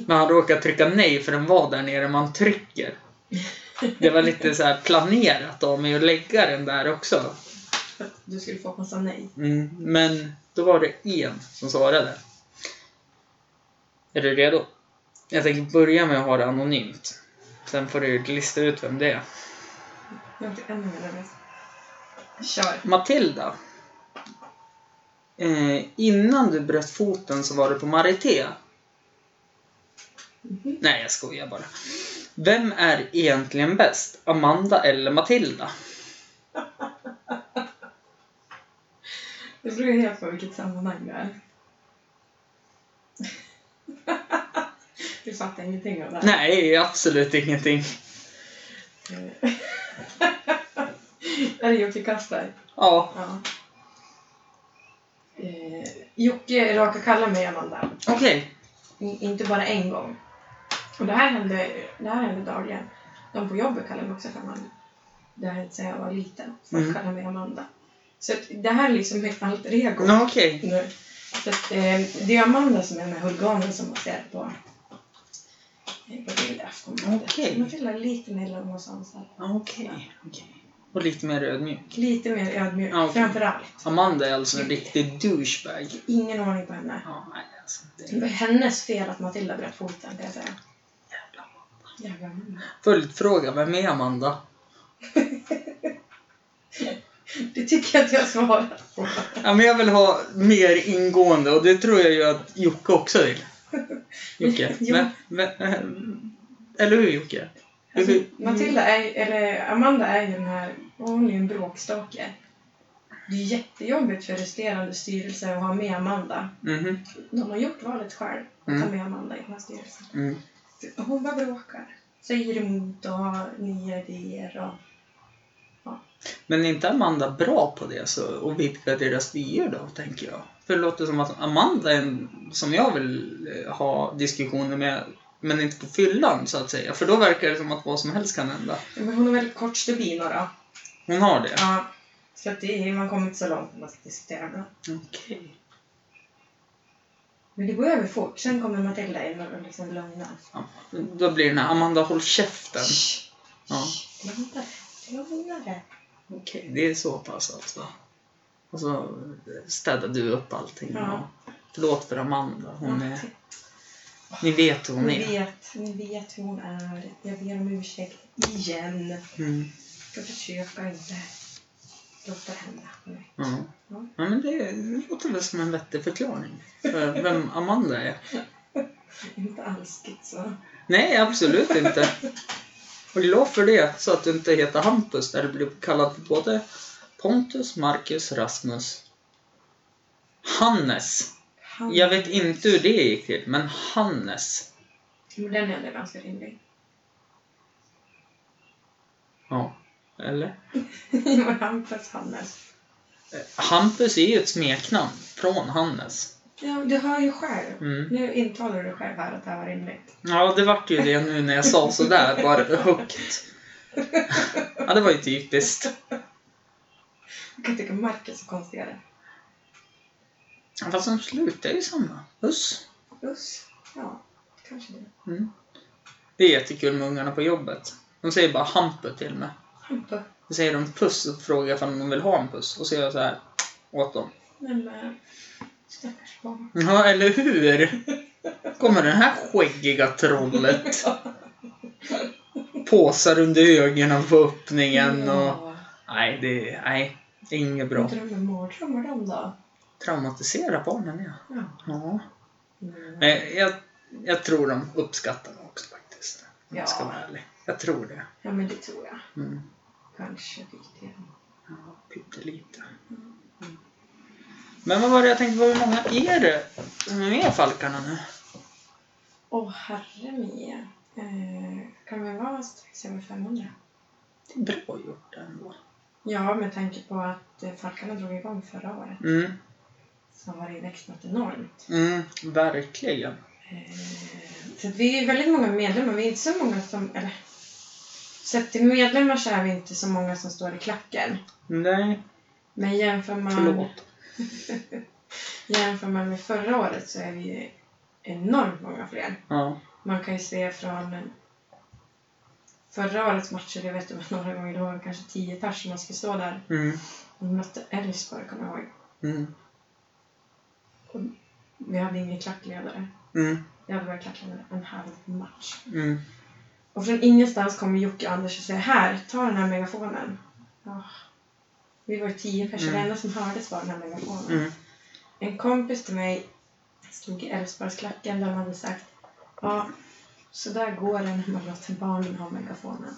Men han råkade trycka nej för den var där nere man trycker. Det var lite så här planerat av mig att lägga den där också. för att du skulle få massa nej. Mm, men då var det en som svarade. Är du redo? Jag tänker börja med att ha det anonymt. Sen får du lista ut vem det är. Jag blir ännu mer nervös. Kör. Matilda. Eh, innan du bröt foten så var du på Marité. Nej, jag skojar bara. Vem är egentligen bäst? Amanda eller Matilda? Det beror ju helt på vilket sammanhang det är. Du fattar ingenting av det här. Nej, absolut ingenting. Är det Jocke Kasper? Ja, Ja. Eh, Jocke råkade kalla mig Amanda. okej. I- Inte bara en gång. Och det här hände, det här hände dagligen. De på jobbet kallade mig också för Amanda. Det här hände sedan jag var liten. Folk Mm. kallade mig Amanda. Så att det här är liksom mitt alter ego. Nå, Okej. Nu. Så att, eh, det är Amanda som är den här huliganen som baserat på eh, på Matilda Aftonbladet. Okej. Matilda är lite mer lång och sansad. Okej. okej. Och lite mer ödmjuk. Lite mer ödmjuk, Ja, okej. framförallt. Amanda är alltså en riktig douchebag. Ingen ordning på henne. Ja, nej, alltså, det Det är var hennes fel att Matilda bröt foten, kan jag säga. jävla... Jävla mamma. Följdfråga, vem är Amanda? Det tycker jag att jag svarat på. Ja, men jag vill ha mer ingående och det tror jag ju att Jocke också vill. Jocke? Jo. Men, men, eh, eller hur Jocke? Alltså, Hur- Matilda är eller Amanda är ju den här, och hon är ju en bråkstake. Det är jättejobbigt för resterande styrelse att ha med Amanda. Mhm. De har gjort valet själv, att Mm. ta med Amanda i den här styrelsen. Mm. Hon bara bråkar. Säger emot och har nya idéer och... Men är inte Amanda bra på det så, och vidga deras vyer då, tänker jag? För det låter som att Amanda är en som jag vill eh, ha diskussioner med, men inte på fyllan så att säga. För då verkar det som att vad som helst kan hända. Men hon är väldigt kort stubin då. Hon har det? Ja. Så att det är, man kommer inte så långt när man ska diskutera med någon. Okej. Men det går över fort. Sen kommer Matilda in och liksom lugnar. Ja. Då blir det den här Amanda håll käften. Shh, Ja. Lugna dig. Lugna dig. Okej, det är så pass alltså. Och så eh, städar du upp allting. Ja. Och förlåt för Amanda, hon är... Ni vet hur hon typ. Ni är. vet, ni vet hur hon är. Jag ber om ursäkt igen. Mm. Jag försöker inte låta det hända. Nej. Ja. Ja. ja, men det låter väl som en vettig förklaring. För vem Amanda är. Inte alls liksom. så. Nej, absolut inte. Och glad för det, så att du inte heter Hampus där du blir kallad för både Pontus, Marcus, Rasmus. Hannes! Han, Jag vet inte hur det gick till, men Hannes. Men Den är ändå ganska rimlig. Ja, eller? Ivar Hampus Hannes. Hampus är ju ett smeknamn från Hannes. Ja, du hör ju själv. Mm. Nu intalar du själv här att det här var rimligt. Ja, det vart ju det nu när jag sa sådär, bara högt. Ja, det var ju typiskt. Jag kan tycka Marcus är konstigare. Fast de slutar ju samma. Puss. Usch. Ja, kanske det. Mm. Det är jättekul med ungarna på jobbet. De säger bara Hampus till mig. Hampa. Då säger de puss och frågar ifall de vill ha en puss. Och så gör jag så här åt dem. Men eh, stackars barn. Ja, eller hur? Kommer det här skäggiga trollet. Påsar under ögonen på öppningen och... Nej, det är, nej, det är inget Bra. bra. Drömmer mardrömmar de då? Traumatisera barnen, ja. Ja. ja. Mm. Men jag, jag tror de uppskattar det också faktiskt. Om jag ska Ja. vara ärlig. Jag tror det. Ja, men det tror jag. Mm. Kanske lite grann. Ja, pyttelite. Mm. Men vad var det jag tänkte på? Hur många är det som är med i Falkarna nu? Åh, herre mia. Eh, kan vi vara strax över 500? Det är bra gjort ändå. Ja, med tanke på att eh, Falkarna drog igång förra året Mm, så har det växt något enormt. mm verkligen. Eh, så att vi är väldigt många medlemmar. Vi är inte så många som... Eller, sett till medlemmar så är vi inte så många som står i klacken. Nej, Men jämför man... förlåt. Jämför man med förra året så är vi ju enormt många fler. Ja. Man kan ju se från förra årets matcher, jag vet inte några gånger, då var det kanske tio pers som man skulle stå där. Mm, Vi mötte Elfsborg, kommer jag ihåg. mm, Vi hade ingen klackledare. mm, Jag hade varit klackledare en halv match. mm. Och från ingenstans kommer Jocke och Anders och säger här, ta den här megafonen. Ja. Vi var ju tio personer, Mm. det enda som hördes var den här megafonen. mm. En kompis till mig stod i Älvsborgsklacken där man hade sagt Ja, så där går det när man låter barnen ha megafonen.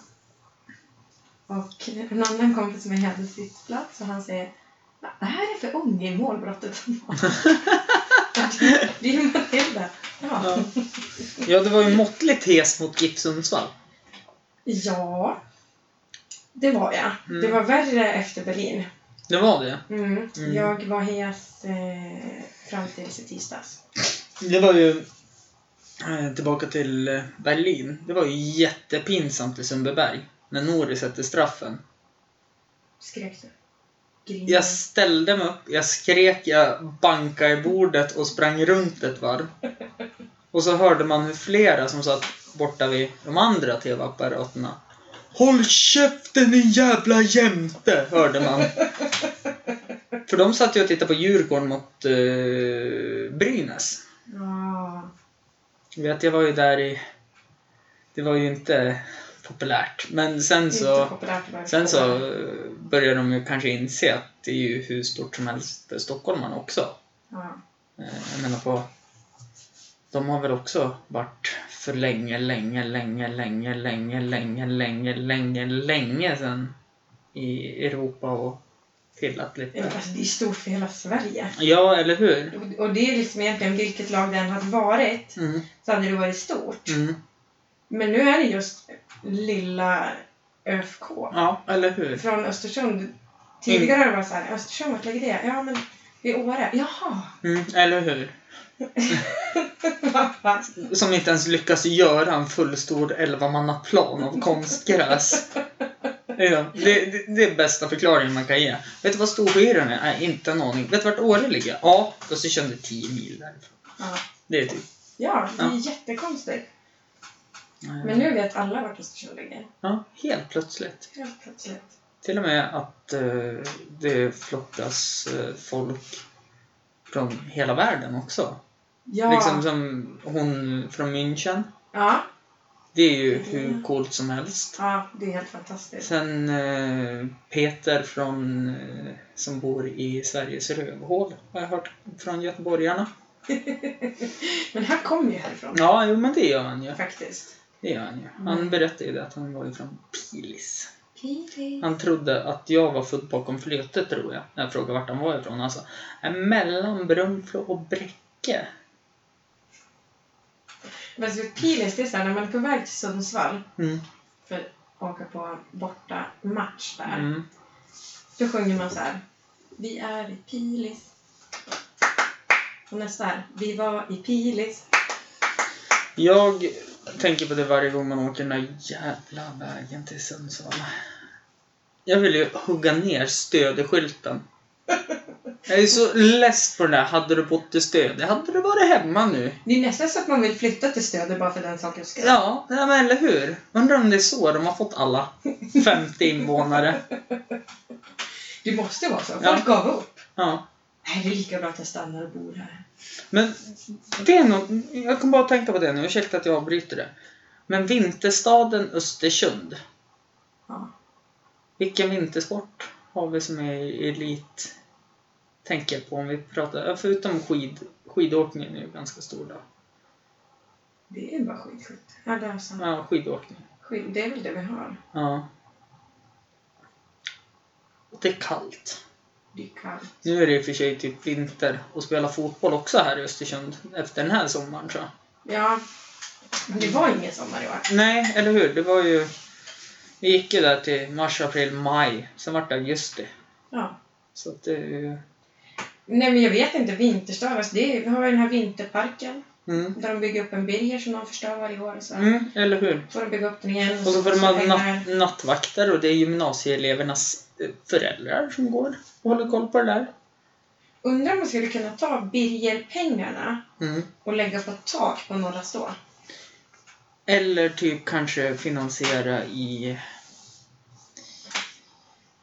Och en annan kompis till mig hade sitt plats och han säger "Ja, Det här är för unge i målbrottet. det är ju Matilda. Ja. Ja. ja, det var ju måttligt hes mot GIF Sundsvall. ja, det var jag. Mm. Det var värre efter Berlin. Det var det. Mm. Mm. Jag var hes eh, fram tills i tisdags. Det var ju... eh, Tillbaka till eh, Berlin. Det var ju jättepinsamt i Sundbyberg. När Nori sätter straffen. Skrek du? Grinade. Jag ställde mig upp, jag skrek, jag bankade i bordet och sprang runt ett varv. Och så hörde man hur flera som satt borta vid de andra TV-apparaterna Håll käften din jävla jämte! Hörde man. För de satt ju och tittade på Djurgården mot eh, Brynäs. Ja. Jag vet, jag var ju där i... Det var ju inte populärt. Men sen Det är så... inte populärt att vara Sen så populärt. eh, börjar de ju kanske inse att det är ju hur stort som helst för stockholmarna också. Ja. Eh, Jag menar på... De har väl också varit för länge, länge, länge, länge, länge, länge, länge, länge, länge sedan i Europa och pillat Ja, lite. Alltså, det är stort för hela Sverige. Ja, eller hur? Och- Och det är liksom egentligen vilket lag den hade varit Mm, så hade det varit stort. mm. Men nu är det just lilla ÖFK. Ja, eller hur? Från Östersund. Tidigare Mm. var det bara så här, Östersund, vart ligger det? Ja, men vid Åre. Jaha! Mm, eller hur? Va, va? Som inte ens lyckas göra en fullstor elvamannaplan av konstgräs. Ja, det, det, det är bästa förklaringen man kan ge. Vet du vad Storsjöyran är? Nej, inte en aning. Vet du vart Åre ligger? Ja, Östersund är 10 mil därifrån. Ja. Det är typ... ja, det är Ja. jättekonstigt. eh, Men nu vet alla vart Östersund ligger. Ja, helt plötsligt. Helt plötsligt. Till och med att eh, det flockas eh, folk från hela världen också. Ja. Liksom som hon från München. ja. Det är ju hur coolt som helst. Ja, det är helt fantastiskt. Sen eh, Peter från, eh, som bor i Sveriges rövhål har jag hört från göteborgarna. Men han kom ju härifrån. Ja, jo men det gör han ju. Faktiskt. Det gör han ju. Han Mm. berättade ju det att han var ju från Pilis. Pilis. Han trodde att jag var född bakom flötet tror jag. När jag frågade vart han var ifrån. Han sa "Äh, mellan Brunflo och Bräcke. Men så Pilis, det är så här, när man är på väg till Sundsvall Mm. för att åka på borta match där. Mm. Då sjunger man så här. Vi är i Pilis. Och nästa är. Vi var i Pilis. Jag tänker på det varje gång man åker den där jävla vägen till Sundsvall. Jag vill ju hugga ner stödeskylten. Jag är så less på den där, hade du bott i Stöde? Hade du varit hemma nu? Det är nästan så att man vill flytta till Stöder bara för den sakens skull. Ja, nej, men eller hur? Undrar om det är så de har fått alla 50 invånare. Det måste vara så. Folk Ja. gav upp. Ja. Nej, det är lika bra att jag stannar och bor här. Men det är något, jag kommer bara tänka på det nu, ursäkta att jag avbryter det. Men vinterstaden Östersund, Ja. Vilken vintersport har vi som är elit? Tänker jag på om vi pratar, ja, förutom skid, skidåkningen är ju ganska stor då. Det är bara skidskytte. Ja, det är sant. Ja, skidåkning. Skid, det är väl det vi har. Ja. Och det är kallt. Det är kallt. Nu är det i och för sig typ vinter och spela fotboll också här i Östersund efter den här sommaren tror jag. Ja. Men det var ingen sommar i år. Nej, eller hur? Det var ju... Vi gick ju där till mars, april, maj. Sen vart det augusti. Ja. Så att det är ju... Nej, men jag vet inte. Vinterstad, alltså det är, vi har ju den här vinterparken. Mm. Där de bygger upp en birger som de förstör varje år. Och så. Mm, eller hur? får de bygga upp den igen. Och så får de kostar ha pengar. natt, nattvakter och det är gymnasieelevernas eh, föräldrar som går och håller koll på det där. Undrar om man skulle kunna ta birgerpengarna Mm. och lägga på ett tak på Norra Stå. Eller typ kanske finansiera i...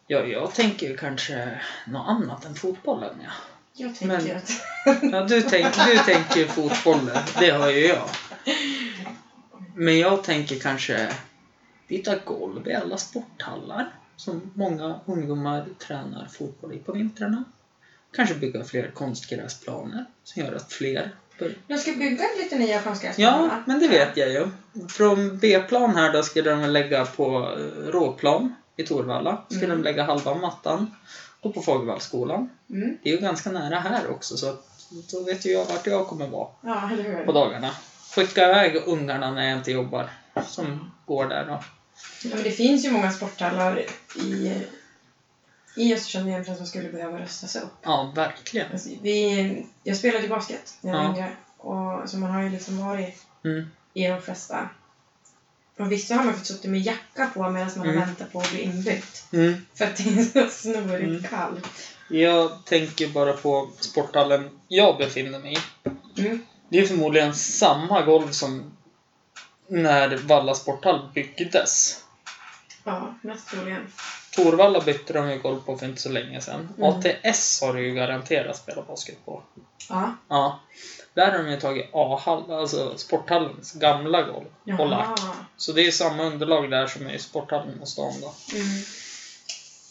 Ja, jag tänker ju kanske något annat än fotbollen, ja. Jag tänker Men- att... ja du, tänk, du tänker fotbollen, det har ju jag. Men jag tänker kanske byta golv i alla sporthallar som många ungdomar tränar fotboll i på vintrarna. Kanske bygga fler konstgräsplaner som gör att fler bör- De ska bygga lite nya konstgräsplaner. Ja, men det vet jag ju. Från B-plan här då skulle de lägga på eh, råplan i Torvalla. Skulle Mm. de lägga halva mattan. Och på Fagervallsskolan. Mm. Det är ju ganska nära här också så att då vet ju jag vart jag kommer vara Ja, eller hur? på dagarna. Skicka iväg ungarna när jag inte jobbar. Som går där då. Ja, men det finns ju många sporthallar i, i Östersund egentligen som skulle behöva rustas upp. Ja, verkligen. Alltså, vi, jag spelade ju basket när jag Ja. var yngre. Och, så man har ju liksom varit Mm. i de flesta. Och vissa har man fått sitta med jacka på medan man Mm. har väntat på att bli inbytt. Mm. För att det är så snorigt Mm. kallt. Jag tänker bara på sporthallen jag befinner mig i. Mm. Det är förmodligen samma golv som när Valla sporthall byggdes. Ja, mest troligen. Torvalla bytte de ju golv på för inte så länge sedan. Mm. ATS har du ju garanterat spelat basket på. Ja. Ja. Där har de ju tagit A-hall, alltså sporthallens gamla golv och lagt. Så det är samma underlag där som är i sporthallen och stan då. Mm.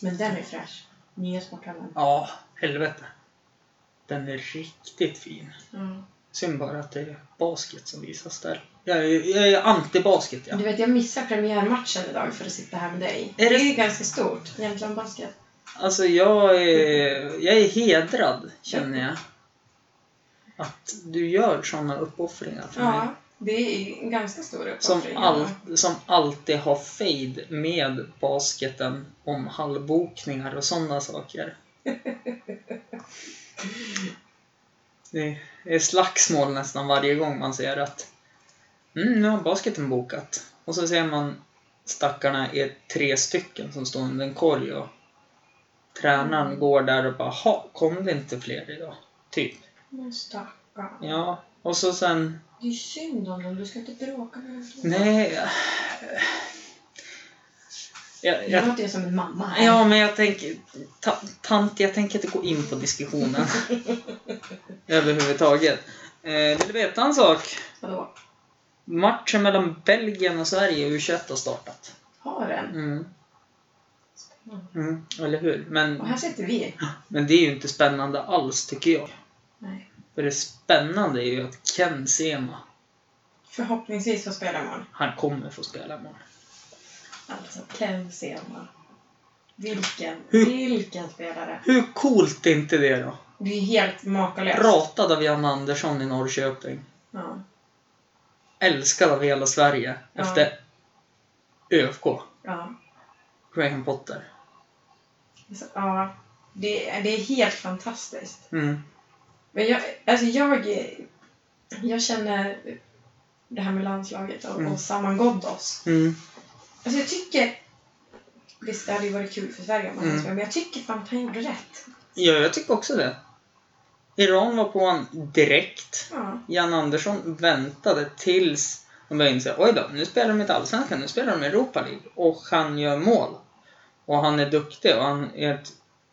Men den är fräsch. Nya sporthallen. Ja, helvete. Den är riktigt fin. Ja. Synd bara att det är basket som visas där. Jag är, jag är anti-basket, ja. Du vet, jag missar premiärmatchen idag för att sitta här med dig. Är det- det är ju ganska stort. Jämtland Basket. Alltså jag är, jag är hedrad, känner jag. Att du gör såna uppoffringar för mig. Ja, Mm. det är ju ganska stor Som, uppoffring. all, som alltid har fade med basketen om halvbokningar och sådana saker. Det är slagsmål nästan varje gång man ser att mm, nu har basketen bokat. Och så ser man stackarna är tre stycken som står under en korg och tränaren går där och bara ha, kom det inte fler idag? Typ. Men stackarn. Ja, och så sen Det är ju synd om dem. Du ska inte bråka med dem. Nej. eh, Jag, Jag jag, låter ju som en mamma här. ja, men jag tänker... Ta, tant, jag tänker inte gå in på diskussionen. Överhuvudtaget. Eh, vill du veta en sak? Vadå? Matchen mellan Belgien och Sverige i U21 har startat. Har den? Mm. Mm, eller hur? Och Men, här sitter vi. men det är ju inte spännande alls, tycker jag. Nej. För det spännande är ju att Ken Sema, Förhoppningsvis får spela imorgon. han kommer få spela imorgon. Alltså, Ken Sema. Vilken, Hur- vilken spelare. Hur coolt är inte det då? Det är helt makalöst. Ratad av Jan Andersson i Norrköping. Ja. älskad av hela Sverige Ja. efter ÖFK, ja. Graham Potter. Alltså, ja. Det, är- det är helt fantastiskt. Mm. Men jag, alltså jag, jag känner det här med landslaget och, Mm. och Saman Ghoddos. Mm. Alltså jag tycker, visst det hade ju varit kul för Sverige om han Mm. mm. men jag tycker fan att han gjorde rätt. Ja, jag tycker också det. Iran var på en direkt. Ja. Jan Andersson väntade tills de började inse oj då, nu spelar de inte Allsvenskan, nu spelar de Europa League. Och han gör mål. Och han är duktig och han är ett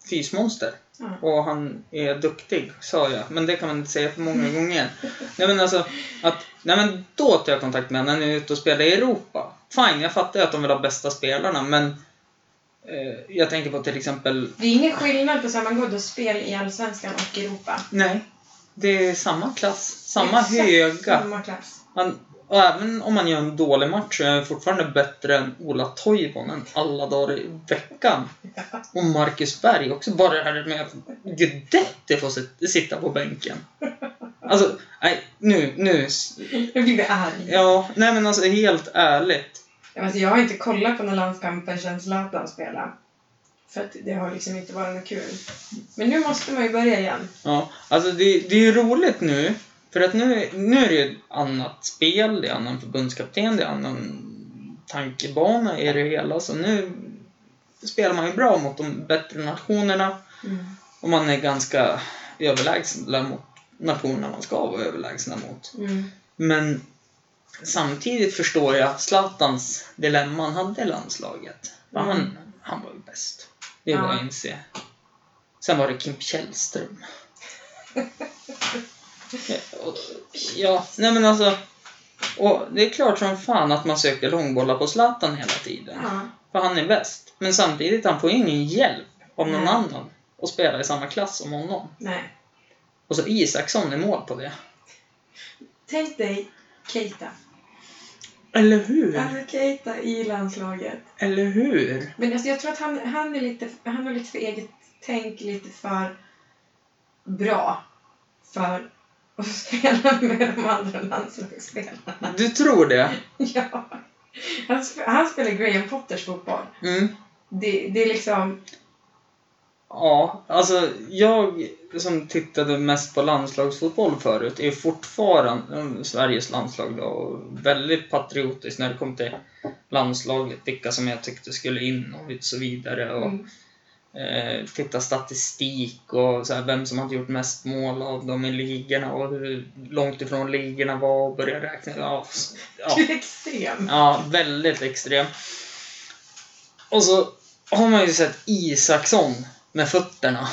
fysmonster. ja. Och han är duktig, sa jag. Men det kan man inte säga för många gånger. Nej men alltså, att, nej men då tar jag kontakt med honom när han är ute och spelar i Europa. Fine, jag fattar ju att de vill ha bästa spelarna, men eh, jag tänker på till exempel, Det är ingen skillnad på Saman Ghoddos spel i Allsvenskan och Europa. nej, det är samma klass, samma Exakt höga. Samma klass. Han, och även om man gör en dålig match så är han fortfarande bättre än Ola Toivonen alla dagar i veckan. Och Marcus Berg också. Bara det här med att Guidetti får sit- sitta på bänken. Alltså, nej, nu, nu. s- Nu blir vi arg. Ja, nej men alltså helt ärligt. Ja, men Alltså, jag har inte kollat på några landskamper sedan Zlatan spelade. För att det har liksom inte varit något kul. Men nu måste man ju börja igen. Ja, alltså det, det är ju roligt nu. För att nu, nu är det ju ett annat spel, det är annan förbundskapten, det är annan tankebana i det hela. Så nu spelar man ju bra mot de bättre nationerna. Och man är ganska överlägsen mot nationerna man ska vara överlägsna mot. Mm. Men samtidigt förstår jag Zlatans dilemma han hade i landslaget. För Mm. han, han var ju bäst. Det är bara Ja. att inse. Sen var det Kim Källström. ja, och, ja, nej men alltså. Och det är klart som fan att man söker långbollar på Zlatan hela tiden. Ja. För han är bäst. Men samtidigt, han får ingen hjälp av någon Nej. annan att spela i samma klass som honom. Nej. Och så Isaksson är mål på det. Tänk dig Keita. Eller hur? Alltså Keita i landslaget. Eller hur? Men alltså, jag tror att han, han, är lite, han har lite för eget tänk, lite för bra för att spela med de andra landslagsspelarna. Du tror det? Ja. Han, sp- han spelar Graham Potters fotboll. Mm. Det, det är liksom... Ja, alltså jag som tittade mest på landslagsfotboll förut är fortfarande mm, Sveriges landslag då och väldigt patriotisk när det kom till landslaget, vilka som jag tyckte skulle in och så vidare. Och, Mm. eh, titta statistik och så här, vem som hade gjort mest mål av dem i ligorna och hur långt ifrån ligorna var och börja räkna. Ja, s- ja, Du är extrem. ja väldigt extrem. Och så har man ju sett Isaksson med fötterna.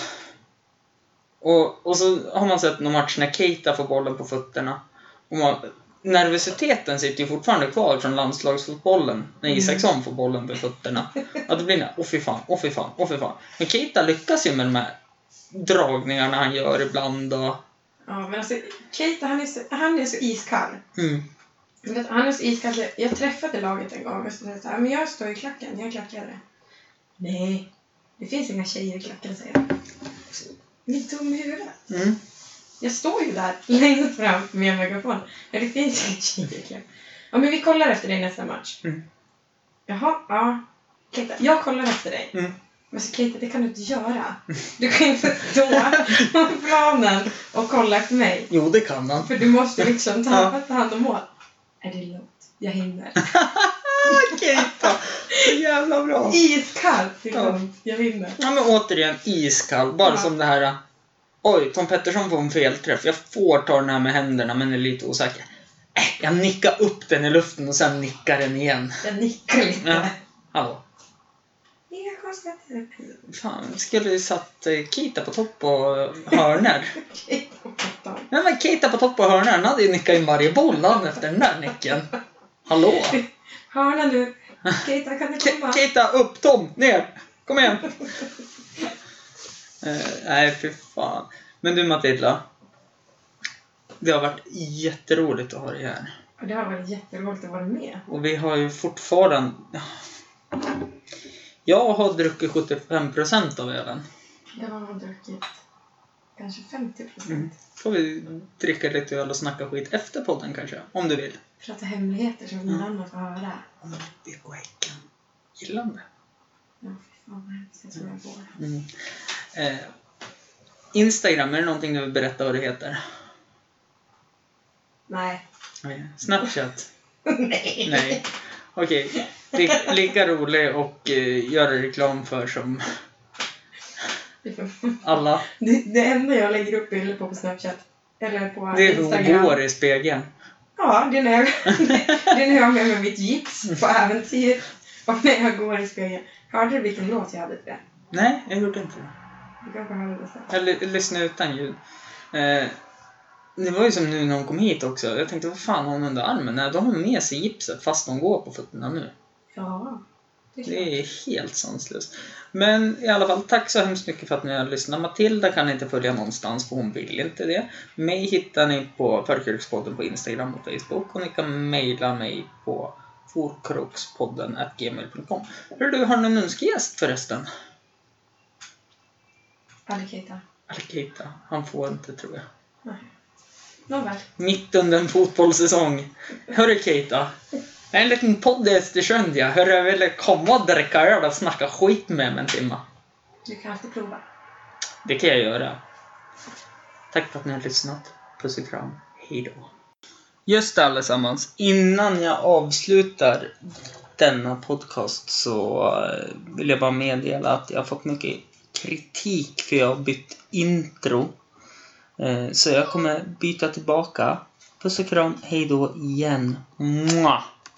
Och, och så har man sett någon match när Keita får bollen på fötterna. Och man, nervositeten sitter ju fortfarande kvar från landslagsfotbollen när Isaksson får bollen med fötterna. Att det blir den här, åh fy fan, åh fy fan, åh fy fan. Men Keita lyckas ju med de här dragningarna han gör ibland och... Ja, men alltså Keita, han är så, han är så iskall. Mm. Du vet, Han är så iskall. så Jag träffade laget en gång och så sa jag så här, men jag står i klacken, jag är klackare. Nej, det finns inga tjejer i klacken, säger han. Ni är dum i huvudet. Mm. Jag står ju där längst fram med en megafon. Ja, det finns inga tjejer i klacken. Ja, men vi kollar efter dig nästa match. Mm. Jaha, ja. Keita, jag kollar efter dig. Mm. Men så Keita, det kan du inte göra. Du kan inte stå på planen och kolla efter mig. Jo, det kan han. För du måste liksom Ja. ta, ta hand om mål. Är det lugnt? Jag hinner. Ah, Keita! Så jävla bra! Iskallt! Ja. Liksom. Jag hinner. Ja, men återigen iskall. Bara Ja. som det här... äh, Oj, Tom Pettersson får en felträff. Jag får ta den här med händerna, men är lite osäker. Äh, jag nickar upp den i luften och sen nickar den igen. Jag nickar lite. Ja. Hallå. Inga konstigheter. Fan, skulle ju satt eh, Keita på topp och eh, hörner. Okej, då fattar jag. Nej, men Keita på topp och hörner. Han hade ju nickat in varje boll han efter den där nicken. Hallå? Hörna nu. Keita, kan du Ke- komma? Keita, upp! Tom, ner! Kom igen! Eh, nej, fy fan. Men du Matilda. Det har varit jätteroligt att ha dig här. Och Det har varit jätteroligt att vara med. Och vi har ju fortfarande... Jag har druckit 75% av ölen. Jag har druckit kanske 50 procent. Mm. Får vi dricka lite öl och snacka skit efter podden kanske? Om du vill. Prata hemligheter som Mm. ingen annan får höra. Om vi går häcken. Gillande. Ja, fy fan vad hemskt. Jag tror jag får. Mm. Eh, Instagram, är det någonting du vill berätta vad det heter? Nej. Nej. Snapchat? Nej. Nej. Okej. Li- lika rolig och eh, göra reklam för som alla. Det, det enda jag lägger upp bilder på på Snapchat. Eller på Det är hur Instagram. hon går i spegeln. Ja, det är när jag, det är när jag har med mig mitt gips på äventyr. Och när jag går i spegeln. Hörde du vilken låt jag hade till det? Nej, jag gjorde inte det. Du kanske hörde det sen. Jag ly- lyssnade utan ljud. Eh, det var ju som nu när hon kom hit också. Jag tänkte, vad fan har hon under armen? Nej, då har hon med sig gipset fast hon går på fötterna nu. Ja. Det är klart. Det är helt sanslöst. Men i alla fall, tack så hemskt mycket för att ni har lyssnat. Matilda kan ni inte följa någonstans för hon vill inte det. Mig hittar ni på Förkrokspodden på Instagram och Facebook och ni kan mejla mig på forkrokspodden gmail.com. Hör du, har ni en önskegäst förresten? Alligator. Alkita, han får inte tror jag. Nej. Nåväl. Mitt under en fotbollssäsong. Hörru Keita. Jag är en liten podd i Östersund ja. Hörru, jag ville komma och dricka öl och snacka skit med mig en timma. Du kan alltid prova. Det kan jag göra. Tack för att ni har lyssnat. Puss och kram. Hej då. Just det allesammans. Innan jag avslutar denna podcast så eh, vill jag bara meddela att jag har fått mycket kritik för jag har bytt intro. Eh, Så jag kommer byta tillbaka. Puss och kram. Hej då igen. Mwah!